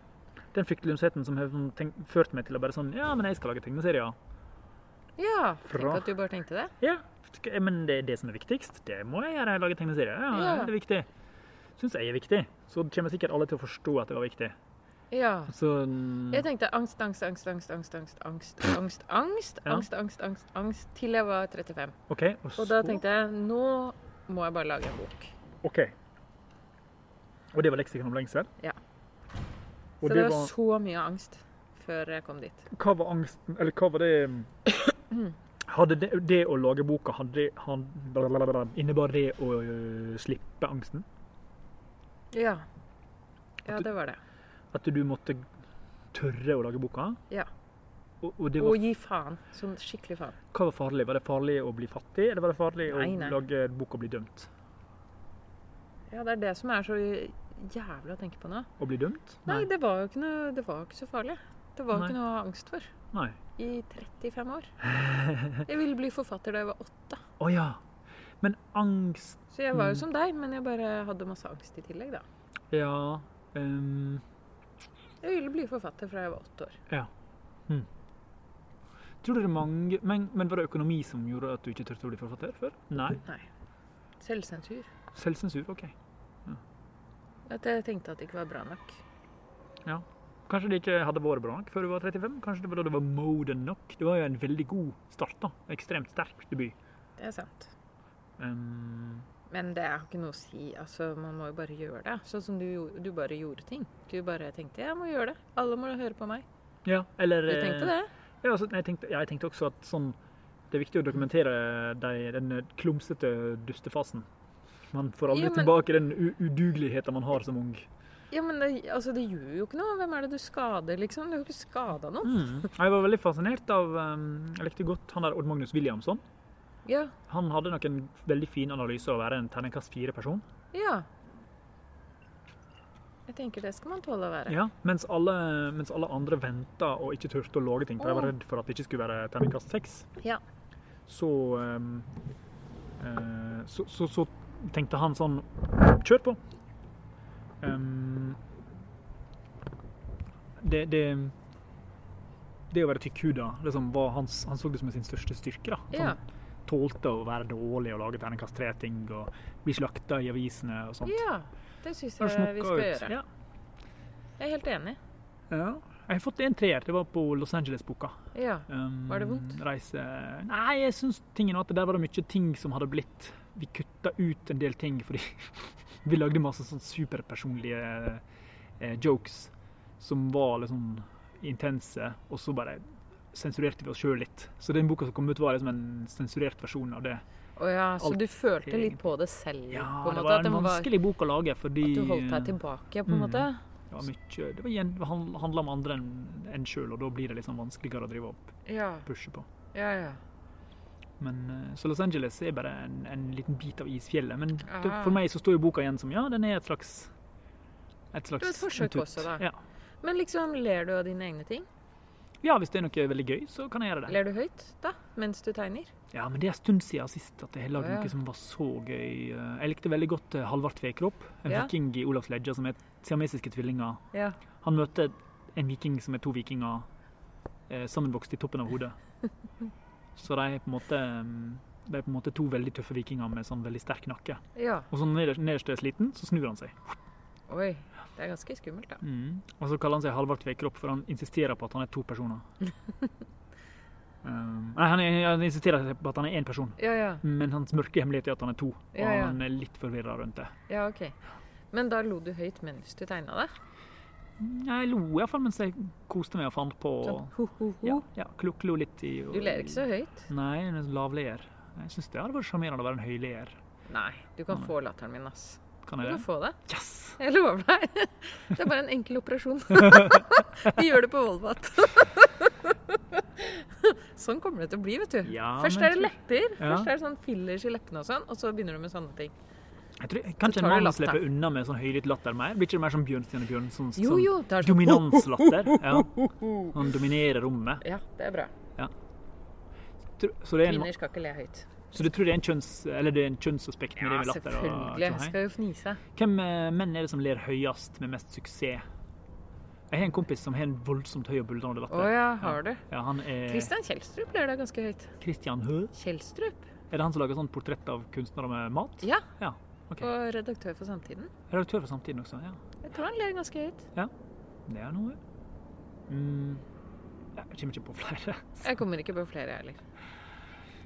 A: Den fryktløsheten som har sånn tenk- ført meg til å bare sånn Ja, men jeg skal lage tegneserier.
B: ja. Tenk
A: Bra.
B: at du bare tenkte det.
A: Ja, skal- ja, men det er det som er viktigst. Det må jeg gjøre. Jeg lager tegneserier. Ja,
B: Ja.
A: Det er viktig. Syns jeg er viktig. Så kommer sikkert alle til å forstå at det var viktig.
B: Ja.
A: Så
B: Jeg tenkte angst, angst, angst, angst, angst, angst, angst, angst, angst,
A: Ja.
B: angst, angst, angst, angst, til jeg var 35.
A: OK.
B: Og da tenkte jeg nå må jeg bare lage en bok.
A: OK. Og det var leksikon om lengsel?
B: Ja.
A: Og
B: Så
A: det,
B: det var
A: var
B: så mye angst før jeg kom dit.
A: Hva var angsten Eller hva var det Hadde det, det å lage boka hadde han, blablabla, Innebar det å ø, slippe angsten?
B: Ja. Ja, det var det.
A: At du måtte tørre å lage boka?
B: Ja.
A: Og, og det
B: Å
A: var,
B: gi faen. Sånn skikkelig faen.
A: hva var farlig? Var det farlig å bli fattig, eller var det farlig
B: Nei,
A: å
B: nei.
A: lage bok og bli dømt?
B: Ja, det er det som er så jævlig å tenke på nå.
A: Å bli dømt?
B: Nei, det var jo ikke, noe, det var jo ikke så farlig. Det var jo
A: Nei.
B: ikke noe å ha angst for.
A: Nei.
B: I 35 år. Jeg ville bli forfatter da jeg var åtte.
A: Å ja. Men angst
B: Så jeg var
A: Mm.
B: jo som deg, men jeg bare hadde masse angst i tillegg, da.
A: Ja. ehm,
B: Jeg ville bli forfatter fra jeg var åtte år.
A: tror du det er mange men, men var det økonomi som gjorde at du ikke turte å bli forfatter før? Nei.
B: Nei. Selvsensur.
A: Selvsensur, OK.
B: At jeg tenkte at det ikke var bra nok.
A: Kanskje det ikke hadde vært bra nok før du var 35? Kanskje det var da du var moden nok? Det var jo en veldig god start, da. Ekstremt sterk debut.
B: Det er sant.
A: Ehm,
B: Men det har ikke noe å si. Altså, man må jo bare gjøre det. Sånn som du, gjorde- du bare gjorde ting. Du bare tenkte 'jeg må gjøre det'. Alle må høre på meg.
A: ja, eller
B: Du tenkte det?
A: Ja, altså, jeg, tenkte, ja, jeg tenkte også at sånn Det er viktig å dokumentere de, den eh, klumsete dustefasen. Man får aldri
B: Ja, men-
A: tilbake den u udugeligheten man har som ung.
B: Ja, men det, altså, det gjør jo ikke noe. Hvem er det du skader, liksom? Du har jo ikke skada noen.
A: Mm. Jeg var veldig fascinert av ehm, Jeg likte godt han der Odd Magnus Williamson.
B: Ja.
A: Han hadde nok en veldig fin analyse av å være en terningkast fire-person.
B: Ja. Jeg tenker det skal man tåle å være.
A: Ja. Mens, alle- mens alle andre venta og ikke turte å lage ting, for de var redd for at det ikke skulle være terningkast seks.
B: Ja.
A: Så, ehm, eh, så, så, så tenkte han sånn Kjør på! Ehm, det, det det å være tykkhuda liksom, var hans, Han så det som sin største styrke. da.
B: Ja.
A: Sånn, Tålte å være dårlig og lage terningkast tre-ting og bli slakta i avisene og sånt.
B: ja. Det syns
A: Han
B: jeg
A: smokka
B: vi skal
A: ut.
B: gjøre.
A: Ja.
B: Jeg er helt enig.
A: Ja. Jeg har fått en treer. Det var på Los Angeles-boka.
B: Ja.
A: Um,
B: Var det vondt?
A: Reise Nei, jeg syns tingen var at der var det mye ting som hadde blitt Vi kutta ut en del ting fordi vi lagde masse sånn superpersonlige eh, jokes som var litt sånn intense, og så bare sensurerte vi oss sjøl litt. Så den boka som kom ut, var liksom en sensurert versjon av det.
B: Å ja, så
A: Alt
B: du følte
A: egentlig.
B: litt på det selv?
A: Ja,
B: på en
A: det
B: måte,
A: var
B: at den
A: en vanskelig bok å lage fordi
B: At du holdt deg tilbake, på en
A: Mm.
B: måte?
A: Det var mye Det var igjen, det han- handla om andre enn en sjøl, og da blir det liksom vanskeligere å drive og
B: Ja.
A: pushe på.
B: Ja, ja.
A: Men, eh, så Los Angeles er bare en, en liten bit av isfjellet. Men det,
B: Ah.
A: for meg så står jo boka igjen som ja, den er et slags et slags
B: Det er et forsøk
A: intutt.
B: også, da.
A: Ja.
B: Men liksom, ler du av dine egne ting?
A: ja, hvis det er noe veldig gøy, så kan jeg gjøre det.
B: Ler du høyt da, mens du tegner?
A: Ja, Men det er en stund siden sist at jeg har lagd
B: Å, ja.
A: noe som var så gøy. Eh, Jeg likte veldig godt eh, Halvard Tvekrop, en
B: Ja.
A: viking i Olavs Ledja som er siamesiske tvillinger.
B: Ja.
A: Han møter en viking som er to vikinger eh, sammenvokst i toppen av hodet. Så de er på en måte mm, de er på en måte to veldig tøffe vikinger med sånn veldig sterk nakke.
B: Ja.
A: Og så nederst, nederst er sliten, så snur han seg.
B: Oi. Det er ganske skummelt, da.
A: Mm. Og så kaller han seg Halvard Tveikrop, for han insisterer på at han er to personer. um, nei, han, er- han insisterer på at han er én person,
B: Ja, ja.
A: men hans mørke hemmelighet er at han er to. Og
B: Ja, ja.
A: han er litt forvirra rundt det.
B: Ja, ok. Men da lo du høyt mens du tegna det?
A: Jeg lo iallfall mens jeg koste meg og fant på.
B: Sånn ho-ho-ho?
A: Ja, ja, Kluklo litt i
B: Du ler ikke så høyt?
A: Nei, en lavleer. Jeg syns det hadde vært sjarmerende å være en høyleer.
B: Nei. Du kan
A: Nei.
B: få latteren min, ass.
A: Kan
B: Du
A: jeg
B: kan
A: det?
B: få det.
A: Yes!
B: Jeg lover deg. Det er bare en enkel operasjon. Vi gjør det på Volvat. Sånn kommer det til å bli, vet du.
A: Ja,
B: Først
A: men
B: er det lepper,
A: Ja.
B: først er det sånn fillers i leppene og sånn, og så begynner du med sånne ting.
A: Jeg tror, kan ikke
B: Så tar
A: en
B: du
A: mann
B: latter.
A: slippe unna med sånn høylytt latter mer? Blir ikke det mer som Bjørnstjerne Bjørn? Sånn,
B: Jo,
A: sånn
B: jo, det er sånn-
A: dominanslatter. Ja. Han dominerer rommet.
B: Ja, det er bra.
A: Tror- Så det er en
B: Kvinner skal ikke le høyt.
A: Så du tror det er en kjønns... Eller det er en kjønnsaspekt med
B: Ja,
A: det med latter og
B: selvfølgelig. Jeg
A: tjohei?
B: skal jo fnise.
A: Hvem eh, menn er det som ler høyest med mest suksess? Jeg har en kompis som har en voldsomt høy og buldrende
B: Å
A: latter.
B: ja, har du?
A: Ja, han er
B: Christian Kjelstrup ler da ganske høyt.
A: Christian Hø.
B: Kjelstrup?
A: Er det han som lager sånn portrett av kunstnere med mat?
B: Ja.
A: Ja, ok.
B: Og redaktør for Samtiden.
A: Redaktør for Samtiden også, ja.
B: Jeg tror han ler ganske høyt.
A: Det er noe. Mm. Jeg kommer ikke på flere.
B: Jeg kommer ikke på flere, jeg heller.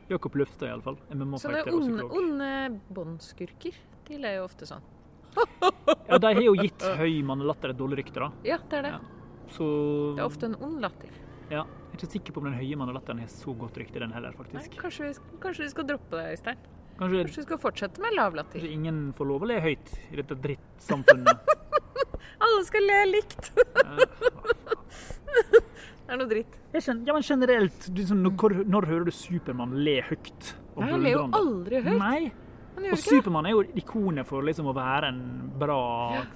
A: Jakob Løfta iallfall.
B: Sånne
A: MMA-fighter og
B: onde,
A: psykolog.
B: onde båndskurker, de ler jo ofte sånn.
A: Ja, de har jo gitt høy mannelatter et dårlig rykte, da.
B: Ja, det er det.
A: Ja. Så
B: Det er ofte en ond latter.
A: Ja, er ikke sikker på om den høye manolatteren har så godt rykte, den heller,
B: Nei,
A: faktisk.
B: kanskje, vi, sk- kanskje vi skal droppe det, Øystein.
A: Kanskje,
B: Kanskje vi skal fortsette med lav latter.
A: kanskje ingen får lov å le høyt i dette drittsamfunnet.
B: Alle skal le likt.
A: Eh,
B: Det er noe dritt.
A: Jeg kjenner, ja, men generelt, du, sånn, når, når hører du Supermann le høyt?
B: Nei, han ler jo aldri høyt.
A: Nei,
B: Han
A: og
B: gjør ikke det.
A: Supermann er jo ikonet for liksom, å være en bra,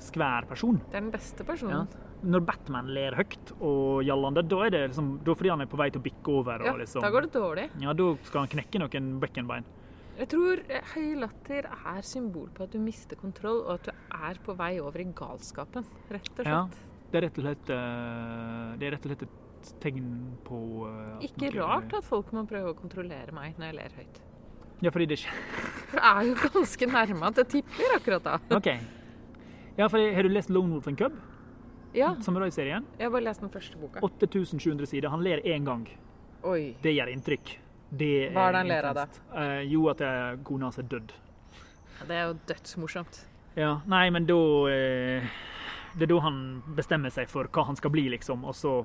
A: skvær person.
B: Det er den beste
A: Ja.
B: personen.
A: Når Batman ler høyt og gjallende, da er det liksom, da er fordi han er på vei til å bikke over.
B: Ja,
A: og liksom,
B: da går det dårlig.
A: Ja, da skal han knekke noen bekkenbein.
B: Jeg tror eh, høy latter er symbol på at du mister kontroll, og at du er på vei over i galskapen, rett og
A: Ja.
B: slett.
A: Det er rett og slett, eh, det er rett og slett et tegn på eh, at
B: Ikke
A: noe-
B: rart at folk må prøve å kontrollere meg når jeg ler høyt.
A: Ja, fordi det skjer.
B: For jeg er jo ganske nærme at jeg tipper akkurat da.
A: OK. Ja, for Har du lest Lone Wolf and Cub?
B: Ja,
A: Samurai-serien?
B: jeg har bare lest den første boka.
A: 8700 sider. Han ler én gang.
B: Oi.
A: Det gjør inntrykk. Det
B: Hva er det han ler av da?
A: intenst. Eh, jo, at eh, kona hans er dødd.
B: Det er jo dødsmorsomt.
A: Ja, nei, men da eh, Det er da han bestemmer seg for hva han skal bli, liksom, og så,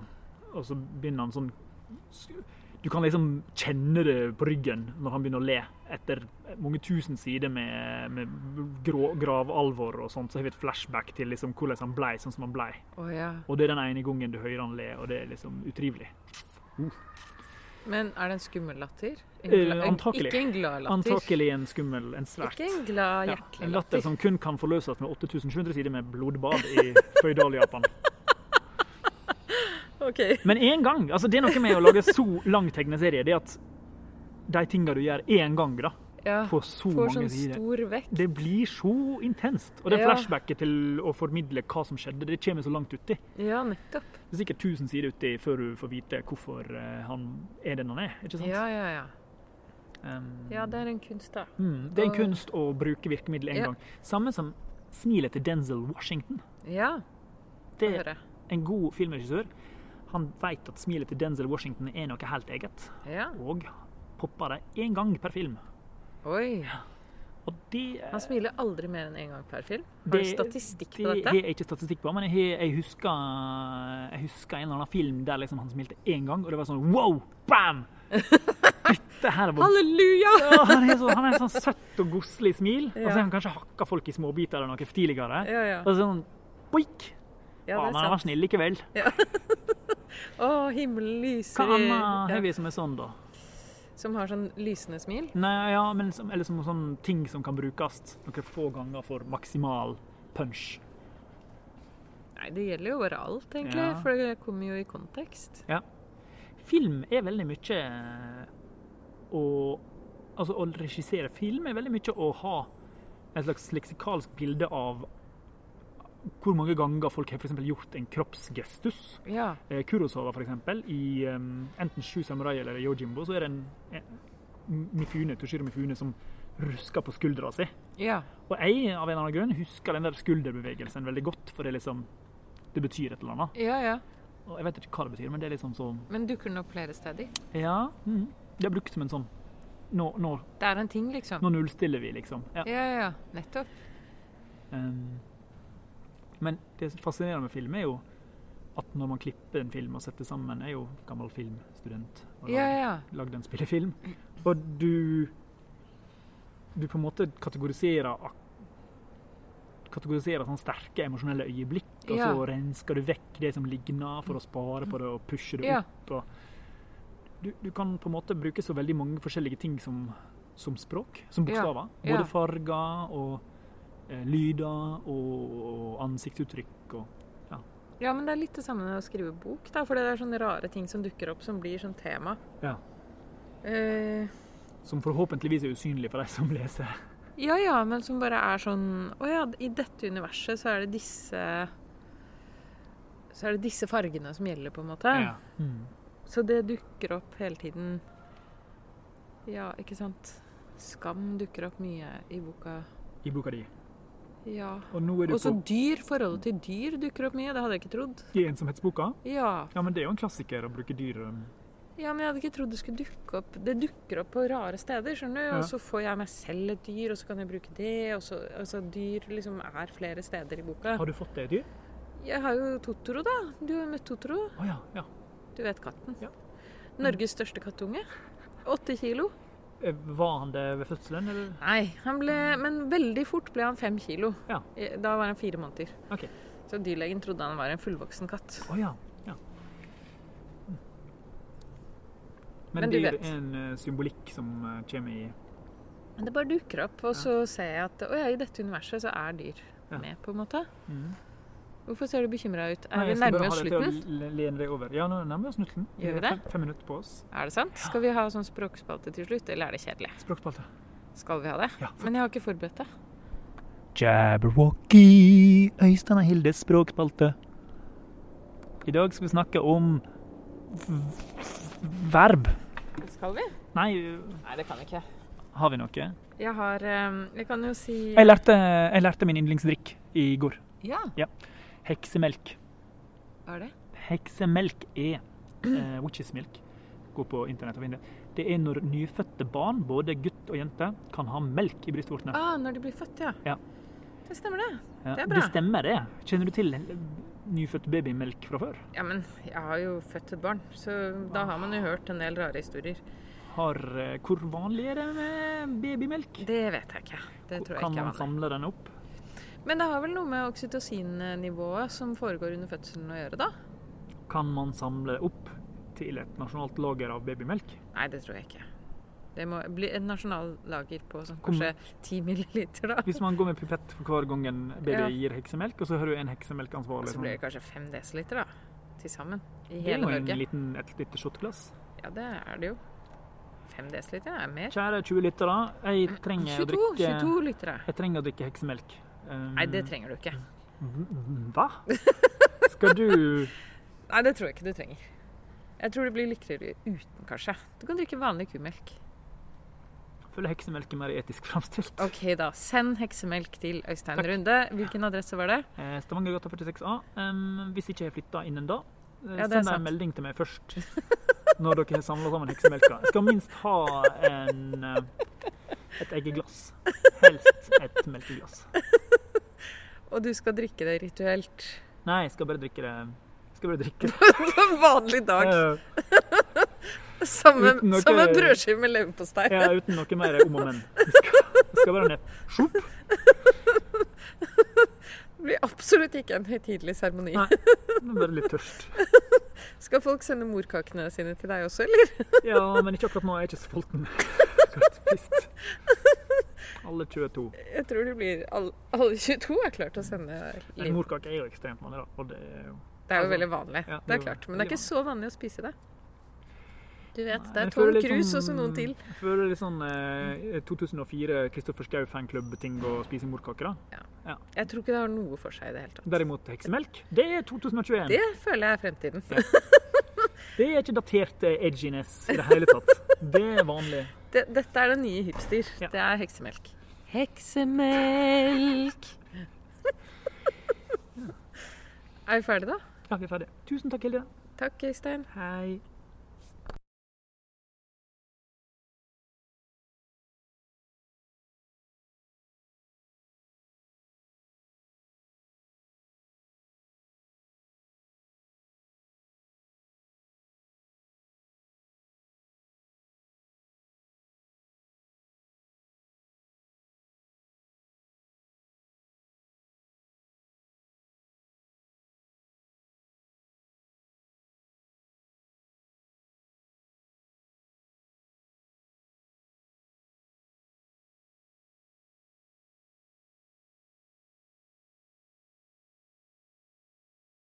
A: og så begynner han sånn Du kan liksom kjenne det på ryggen når han begynner å le. Etter mange tusen sider med, med grå, gravalvor og sånt, så har vi et flashback til liksom hvordan han blei sånn som han blei.
B: Å ja.
A: Og det er den ene gangen du hører han le, og det er liksom utrivelig.
B: Men er det en skummel latter? En
A: Eh,
B: gla- en-
A: antakelig.
B: Ikke en glad latter.
A: Antakelig en skummel, en svært
B: Ikke en glad,
A: Ja,
B: hjertelig
A: en latter
B: latter.
A: som kun kan forløses med 8700 sider med blodbad i føydal-Japan.
B: Ok.
A: Men én gang! altså Det er noe med å lage så lang tegneserie. Det er at de tinga du gjør én gang, da,
B: Ja.
A: på så
B: Får
A: mange
B: sånn
A: sider
B: stor vekk.
A: Det blir så intenst. Og det
B: Ja.
A: flashbacket til å formidle hva som skjedde, det kommer så langt uti.
B: Ja, nettopp.
A: Det er sikkert 1000 sider uti før du får vite hvorfor eh, han er den han er. ikke sant?
B: Ja, ja, ja.
A: Um,
B: Ja, det er en kunst, da.
A: mm, det er en
B: og-
A: kunst å bruke virkemiddel én
B: Ja.
A: gang. Samme som smilet til Denzel Washington.
B: Ja,
A: Det
B: det hører jeg.
A: en god filmregissør han vet at smilet til Denzel Washington er noe helt eget,
B: Ja.
A: og popper det én gang per film.
B: Oi.
A: Og det,
B: Han smiler aldri mer enn én gang per film. Har du
A: Det- det
B: statistikk på
A: har
B: dette?
A: jeg ikke statistikk på, men jeg, har- jeg, husker, jeg husker en eller annen film der liksom han smilte én gang, og det var sånn wow, bam! Dette her var
B: Halleluja!
A: Ja, han er, så, han er sånn søtt og godslig smil, og så
B: Ja.
A: har han kanskje hakka folk i småbiter eller noe tidligere.
B: Ja, ja.
A: Og sånn boik!
B: Ja,
A: Ja,
B: det
A: men han var
B: er sant.
A: snill likevel.
B: Å, himmelen
A: Hva
B: lyser i-
A: annet
B: Ja.
A: har vi som er sånn, da?
B: Som har sånn lysende smil.
A: Nei, ja, men som, eller som sånn ting som kan brukes noen få ganger for maksimal punch.
B: Nei, det gjelder jo bare alt, egentlig.
A: Ja.
B: For det kommer jo i kontekst.
A: Film er veldig mye å Altså, å regissere film er veldig mye å ha et slags leksikalsk bilde av hvor mange ganger folk har for eksempel gjort en kroppsgestus.
B: Ja.
A: Eh, Kurosawa, for eksempel, i eh, enten Sju samurai eller Yojimbo, så er det en, en Mifune, Toshiro Mifune som rusker på skuldra si.
B: Ja.
A: Og jeg av en eller annen grunn husker den der skulderbevegelsen veldig godt, for det liksom det betyr et eller annet.
B: Ja, ja.
A: Og jeg vet ikke hva det betyr, men det er liksom sånn
B: Men dukker den opp flere steder?
A: Ja. Mm, det er brukt som en sånn Nå, nå,
B: Det er en ting, liksom.
A: nå nullstiller vi, liksom. Ja.
B: Ja, ja, ja. Nettopp.
A: Um, men det som fascinerer med film, er jo at når man klipper en film og setter sammen Jeg er jo gammel filmstudent og
B: Ja,
A: lag-
B: ja.
A: lagde en spillefilm. Og du Du på en måte kategoriserer ak- kategoriserer sånne sterke emosjonelle øyeblikk, og
B: Ja.
A: så rensker du vekk det som ligner, for å spare på det og pushe det
B: Ja.
A: opp. Og du, du kan på en måte bruke så veldig mange forskjellige ting som, som språk, som
B: Ja.
A: bokstaver.
B: Ja.
A: Både farger og eh, lyder og, og ansiktsuttrykk og
B: Ja, men det er litt det samme med å skrive bok, da. For det er sånne rare ting som dukker opp, som blir sånn tema.
A: Ja.
B: Eh,
A: Som forhåpentligvis er usynlig for de som leser.
B: ja, ja, men som bare er sånn Å ja, i dette universet så er det disse Så er det disse fargene som gjelder, på en måte.
A: Ja. Mm.
B: Så det dukker opp hele tiden. Ja, ikke sant. Skam dukker opp mye i boka.
A: I boka di.
B: Ja.
A: Og nå er du
B: Og så
A: på
B: dyr. Forholdet til dyr dukker opp mye. Det hadde jeg ikke trodd.
A: i ensomhetsboka.
B: Ja.
A: Ja, men det er jo en klassiker å bruke dyr um,
B: Ja, men jeg hadde ikke trodd det skulle dukke opp. Det dukker opp på rare steder, skjønner du.
A: Ja.
B: Og så får jeg meg selv et dyr, og så kan jeg bruke det. Og så, altså, dyr liksom er flere steder i boka.
A: Har du fått det dyr?
B: Jeg har jo Totoro, da. Du har jo møtt Totoro.
A: Å ja. ja.
B: Du vet katten.
A: Ja.
B: Norges største kattunge. Åtte kilo.
A: Eh, Var han det ved fødselen, eller?
B: Nei, han ble, men veldig fort ble han fem kilo.
A: Ja.
B: I- Da var han fire måneder.
A: Ok.
B: Så dyrlegen trodde han var en fullvoksen katt.
A: Å ja. ja. Mm. Men,
B: Men du
A: det er
B: vet.
A: en eh, symbolikk som eh, kommer i
B: Men det bare dukker opp, og så ser jeg at å ja, i dette universet så er dyr
A: Ja.
B: med, på en måte.
A: Mhm.
B: Hvorfor ser du bekymra ut?
A: Nei,
B: Er vi
A: jeg skal bare
B: nærme
A: ha
B: oss
A: det til å
B: slutten?
A: l- lene deg over. Ja, nå nærmer vi oss slutten.
B: Gjør vi
A: har
B: det?
A: Fem, fem minutter på oss.
B: Er det sant? Skal vi ha sånn språkspalte til slutt, eller er det kjedelig?
A: Språkspalte.
B: Skal vi ha det?
A: Ja.
B: Men jeg har ikke forberedt det.
A: Jabberwocky, Øystein og Hildes språkspalte. I dag skal vi snakke om verb.
B: Skal vi?
A: Nei,
B: Nei, det kan vi ikke.
A: har vi noe?
B: Jeg har eh, Jeg kan jo si
A: Jeg lærte, jeg lærte min yndlingsdrikk i går.
B: Ja,
A: Heksemelk.
B: hva er det?
A: Heksemelk er
B: Mm.
A: eh, witches milk. Gå på internett og finn det. Det er når nyfødte barn, både gutt og jente, kan ha melk i brystvortene.
B: Ah, når de blir født, ja.
A: Ja.
B: Det stemmer, det.
A: Ja,
B: det er bra.
A: det stemmer, det. Kjenner du til nyfødt babymelk fra før?
B: Ja, men jeg har jo født et barn, så da har man jo hørt en del rare historier.
A: Har, eh, hvor vanlig er det med babymelk?
B: Det vet jeg ikke. Det tror jeg
A: kan man
B: ikke
A: sånn?
B: er vanlig.
A: samle den opp?
B: Men det har vel noe med oksytocinnivået som foregår under fødselen å gjøre, da?
A: Kan man samle opp til et nasjonalt lager av babymelk?
B: Nei, det tror jeg ikke. Det må bli et nasjonallager på sånn,
A: Kom-
B: kanskje 10 milliliter, da.
A: Hvis man går med pipett for hver gang en baby
B: Ja.
A: gir heksemelk, og så har du en heksemelkansvarlig
B: Så
A: som
B: blir det kanskje 5 desiliter, da. Til sammen.
A: sånn.
B: I
A: Det er
B: hele
A: jo en
B: Norge.
A: liten, et lite shotglass.
B: Ja, det er det jo. 5 desiliter er mer.
A: Kjære 20 lyttere, jeg trenger å
B: 22,
A: drikke
B: 22 liter.
A: Jeg trenger å drikke heksemelk. Um,
B: Nei, det trenger du ikke.
A: Hva? Skal du
B: Nei, det tror jeg ikke du trenger. Jeg tror det blir lykkeligere uten, kanskje. Du kan drikke vanlig kumelk.
A: føle heksemelk er mer etisk framstilt?
B: Ok, da. Send heksemelk til Øystein Runde. Hvilken adresse var det?
A: Eh, Stavangergata 46A. Um, hvis ikke jeg flytter innen da, eh,
B: Ja, det er
A: send
B: sant.
A: en melding til meg først. Når dere har samla sammen heksemelka. Jeg skal minst ha en, eh, et eggeglass. Helst et melkeglass.
B: Og du skal drikke det rituelt
A: Nei, jeg skal bare drikke det. Jeg skal bare drikke det.
B: på en vanlig dag.
A: Eh,
B: Som en,
A: Uten noe-
B: som en brødskive med leverpostei.
A: Ja, uten noe mer om og men. Jeg skal, jeg skal bare ned. Sjopp.
B: Det blir absolutt ikke en høytidelig seremoni.
A: Nei. Jeg er Bare litt tørst.
B: Skal folk sende morkakene sine til deg også, eller?
A: Ja, men ikke akkurat nå. Jeg er ikke så sulten. Akkurat spist. Alle 22.
B: Jeg tror det blir all- Alle 22 er klart å sende
A: En
B: liv.
A: morkake er jo ekstremt vanlig, da. Og det er jo
B: Det er jo
A: altså,
B: veldig vanlig.
A: ja,
B: Det
A: det
B: er
A: er
B: klart. Men det er
A: veldig
B: ikke så vanlig å spise det. Du vet, det
A: Nei,
B: er
A: jeg føler
B: Tom
A: litt
B: Cruise
A: sånn-
B: og så noen til.
A: Jeg føler litt sånn eh, 2004 Kristoffer Schau fanklubb-ting å spise morkaker, da.
B: Jeg tror ikke det har noe for seg i det hele tatt.
A: Derimot heksemelk, det er 2021.
B: Det føler jeg er fremtiden.
A: Det er ikke datert eh, edginess i det hele tatt. Det er vanlig.
B: Det, dette er den nye hipster.
A: Ja.
B: Det er heksemelk. Heksemelk! er vi ferdige, da?
A: Ja, vi er ferdige. Tusen takk, Hilde.
B: Takk, Øystein.
A: Hei.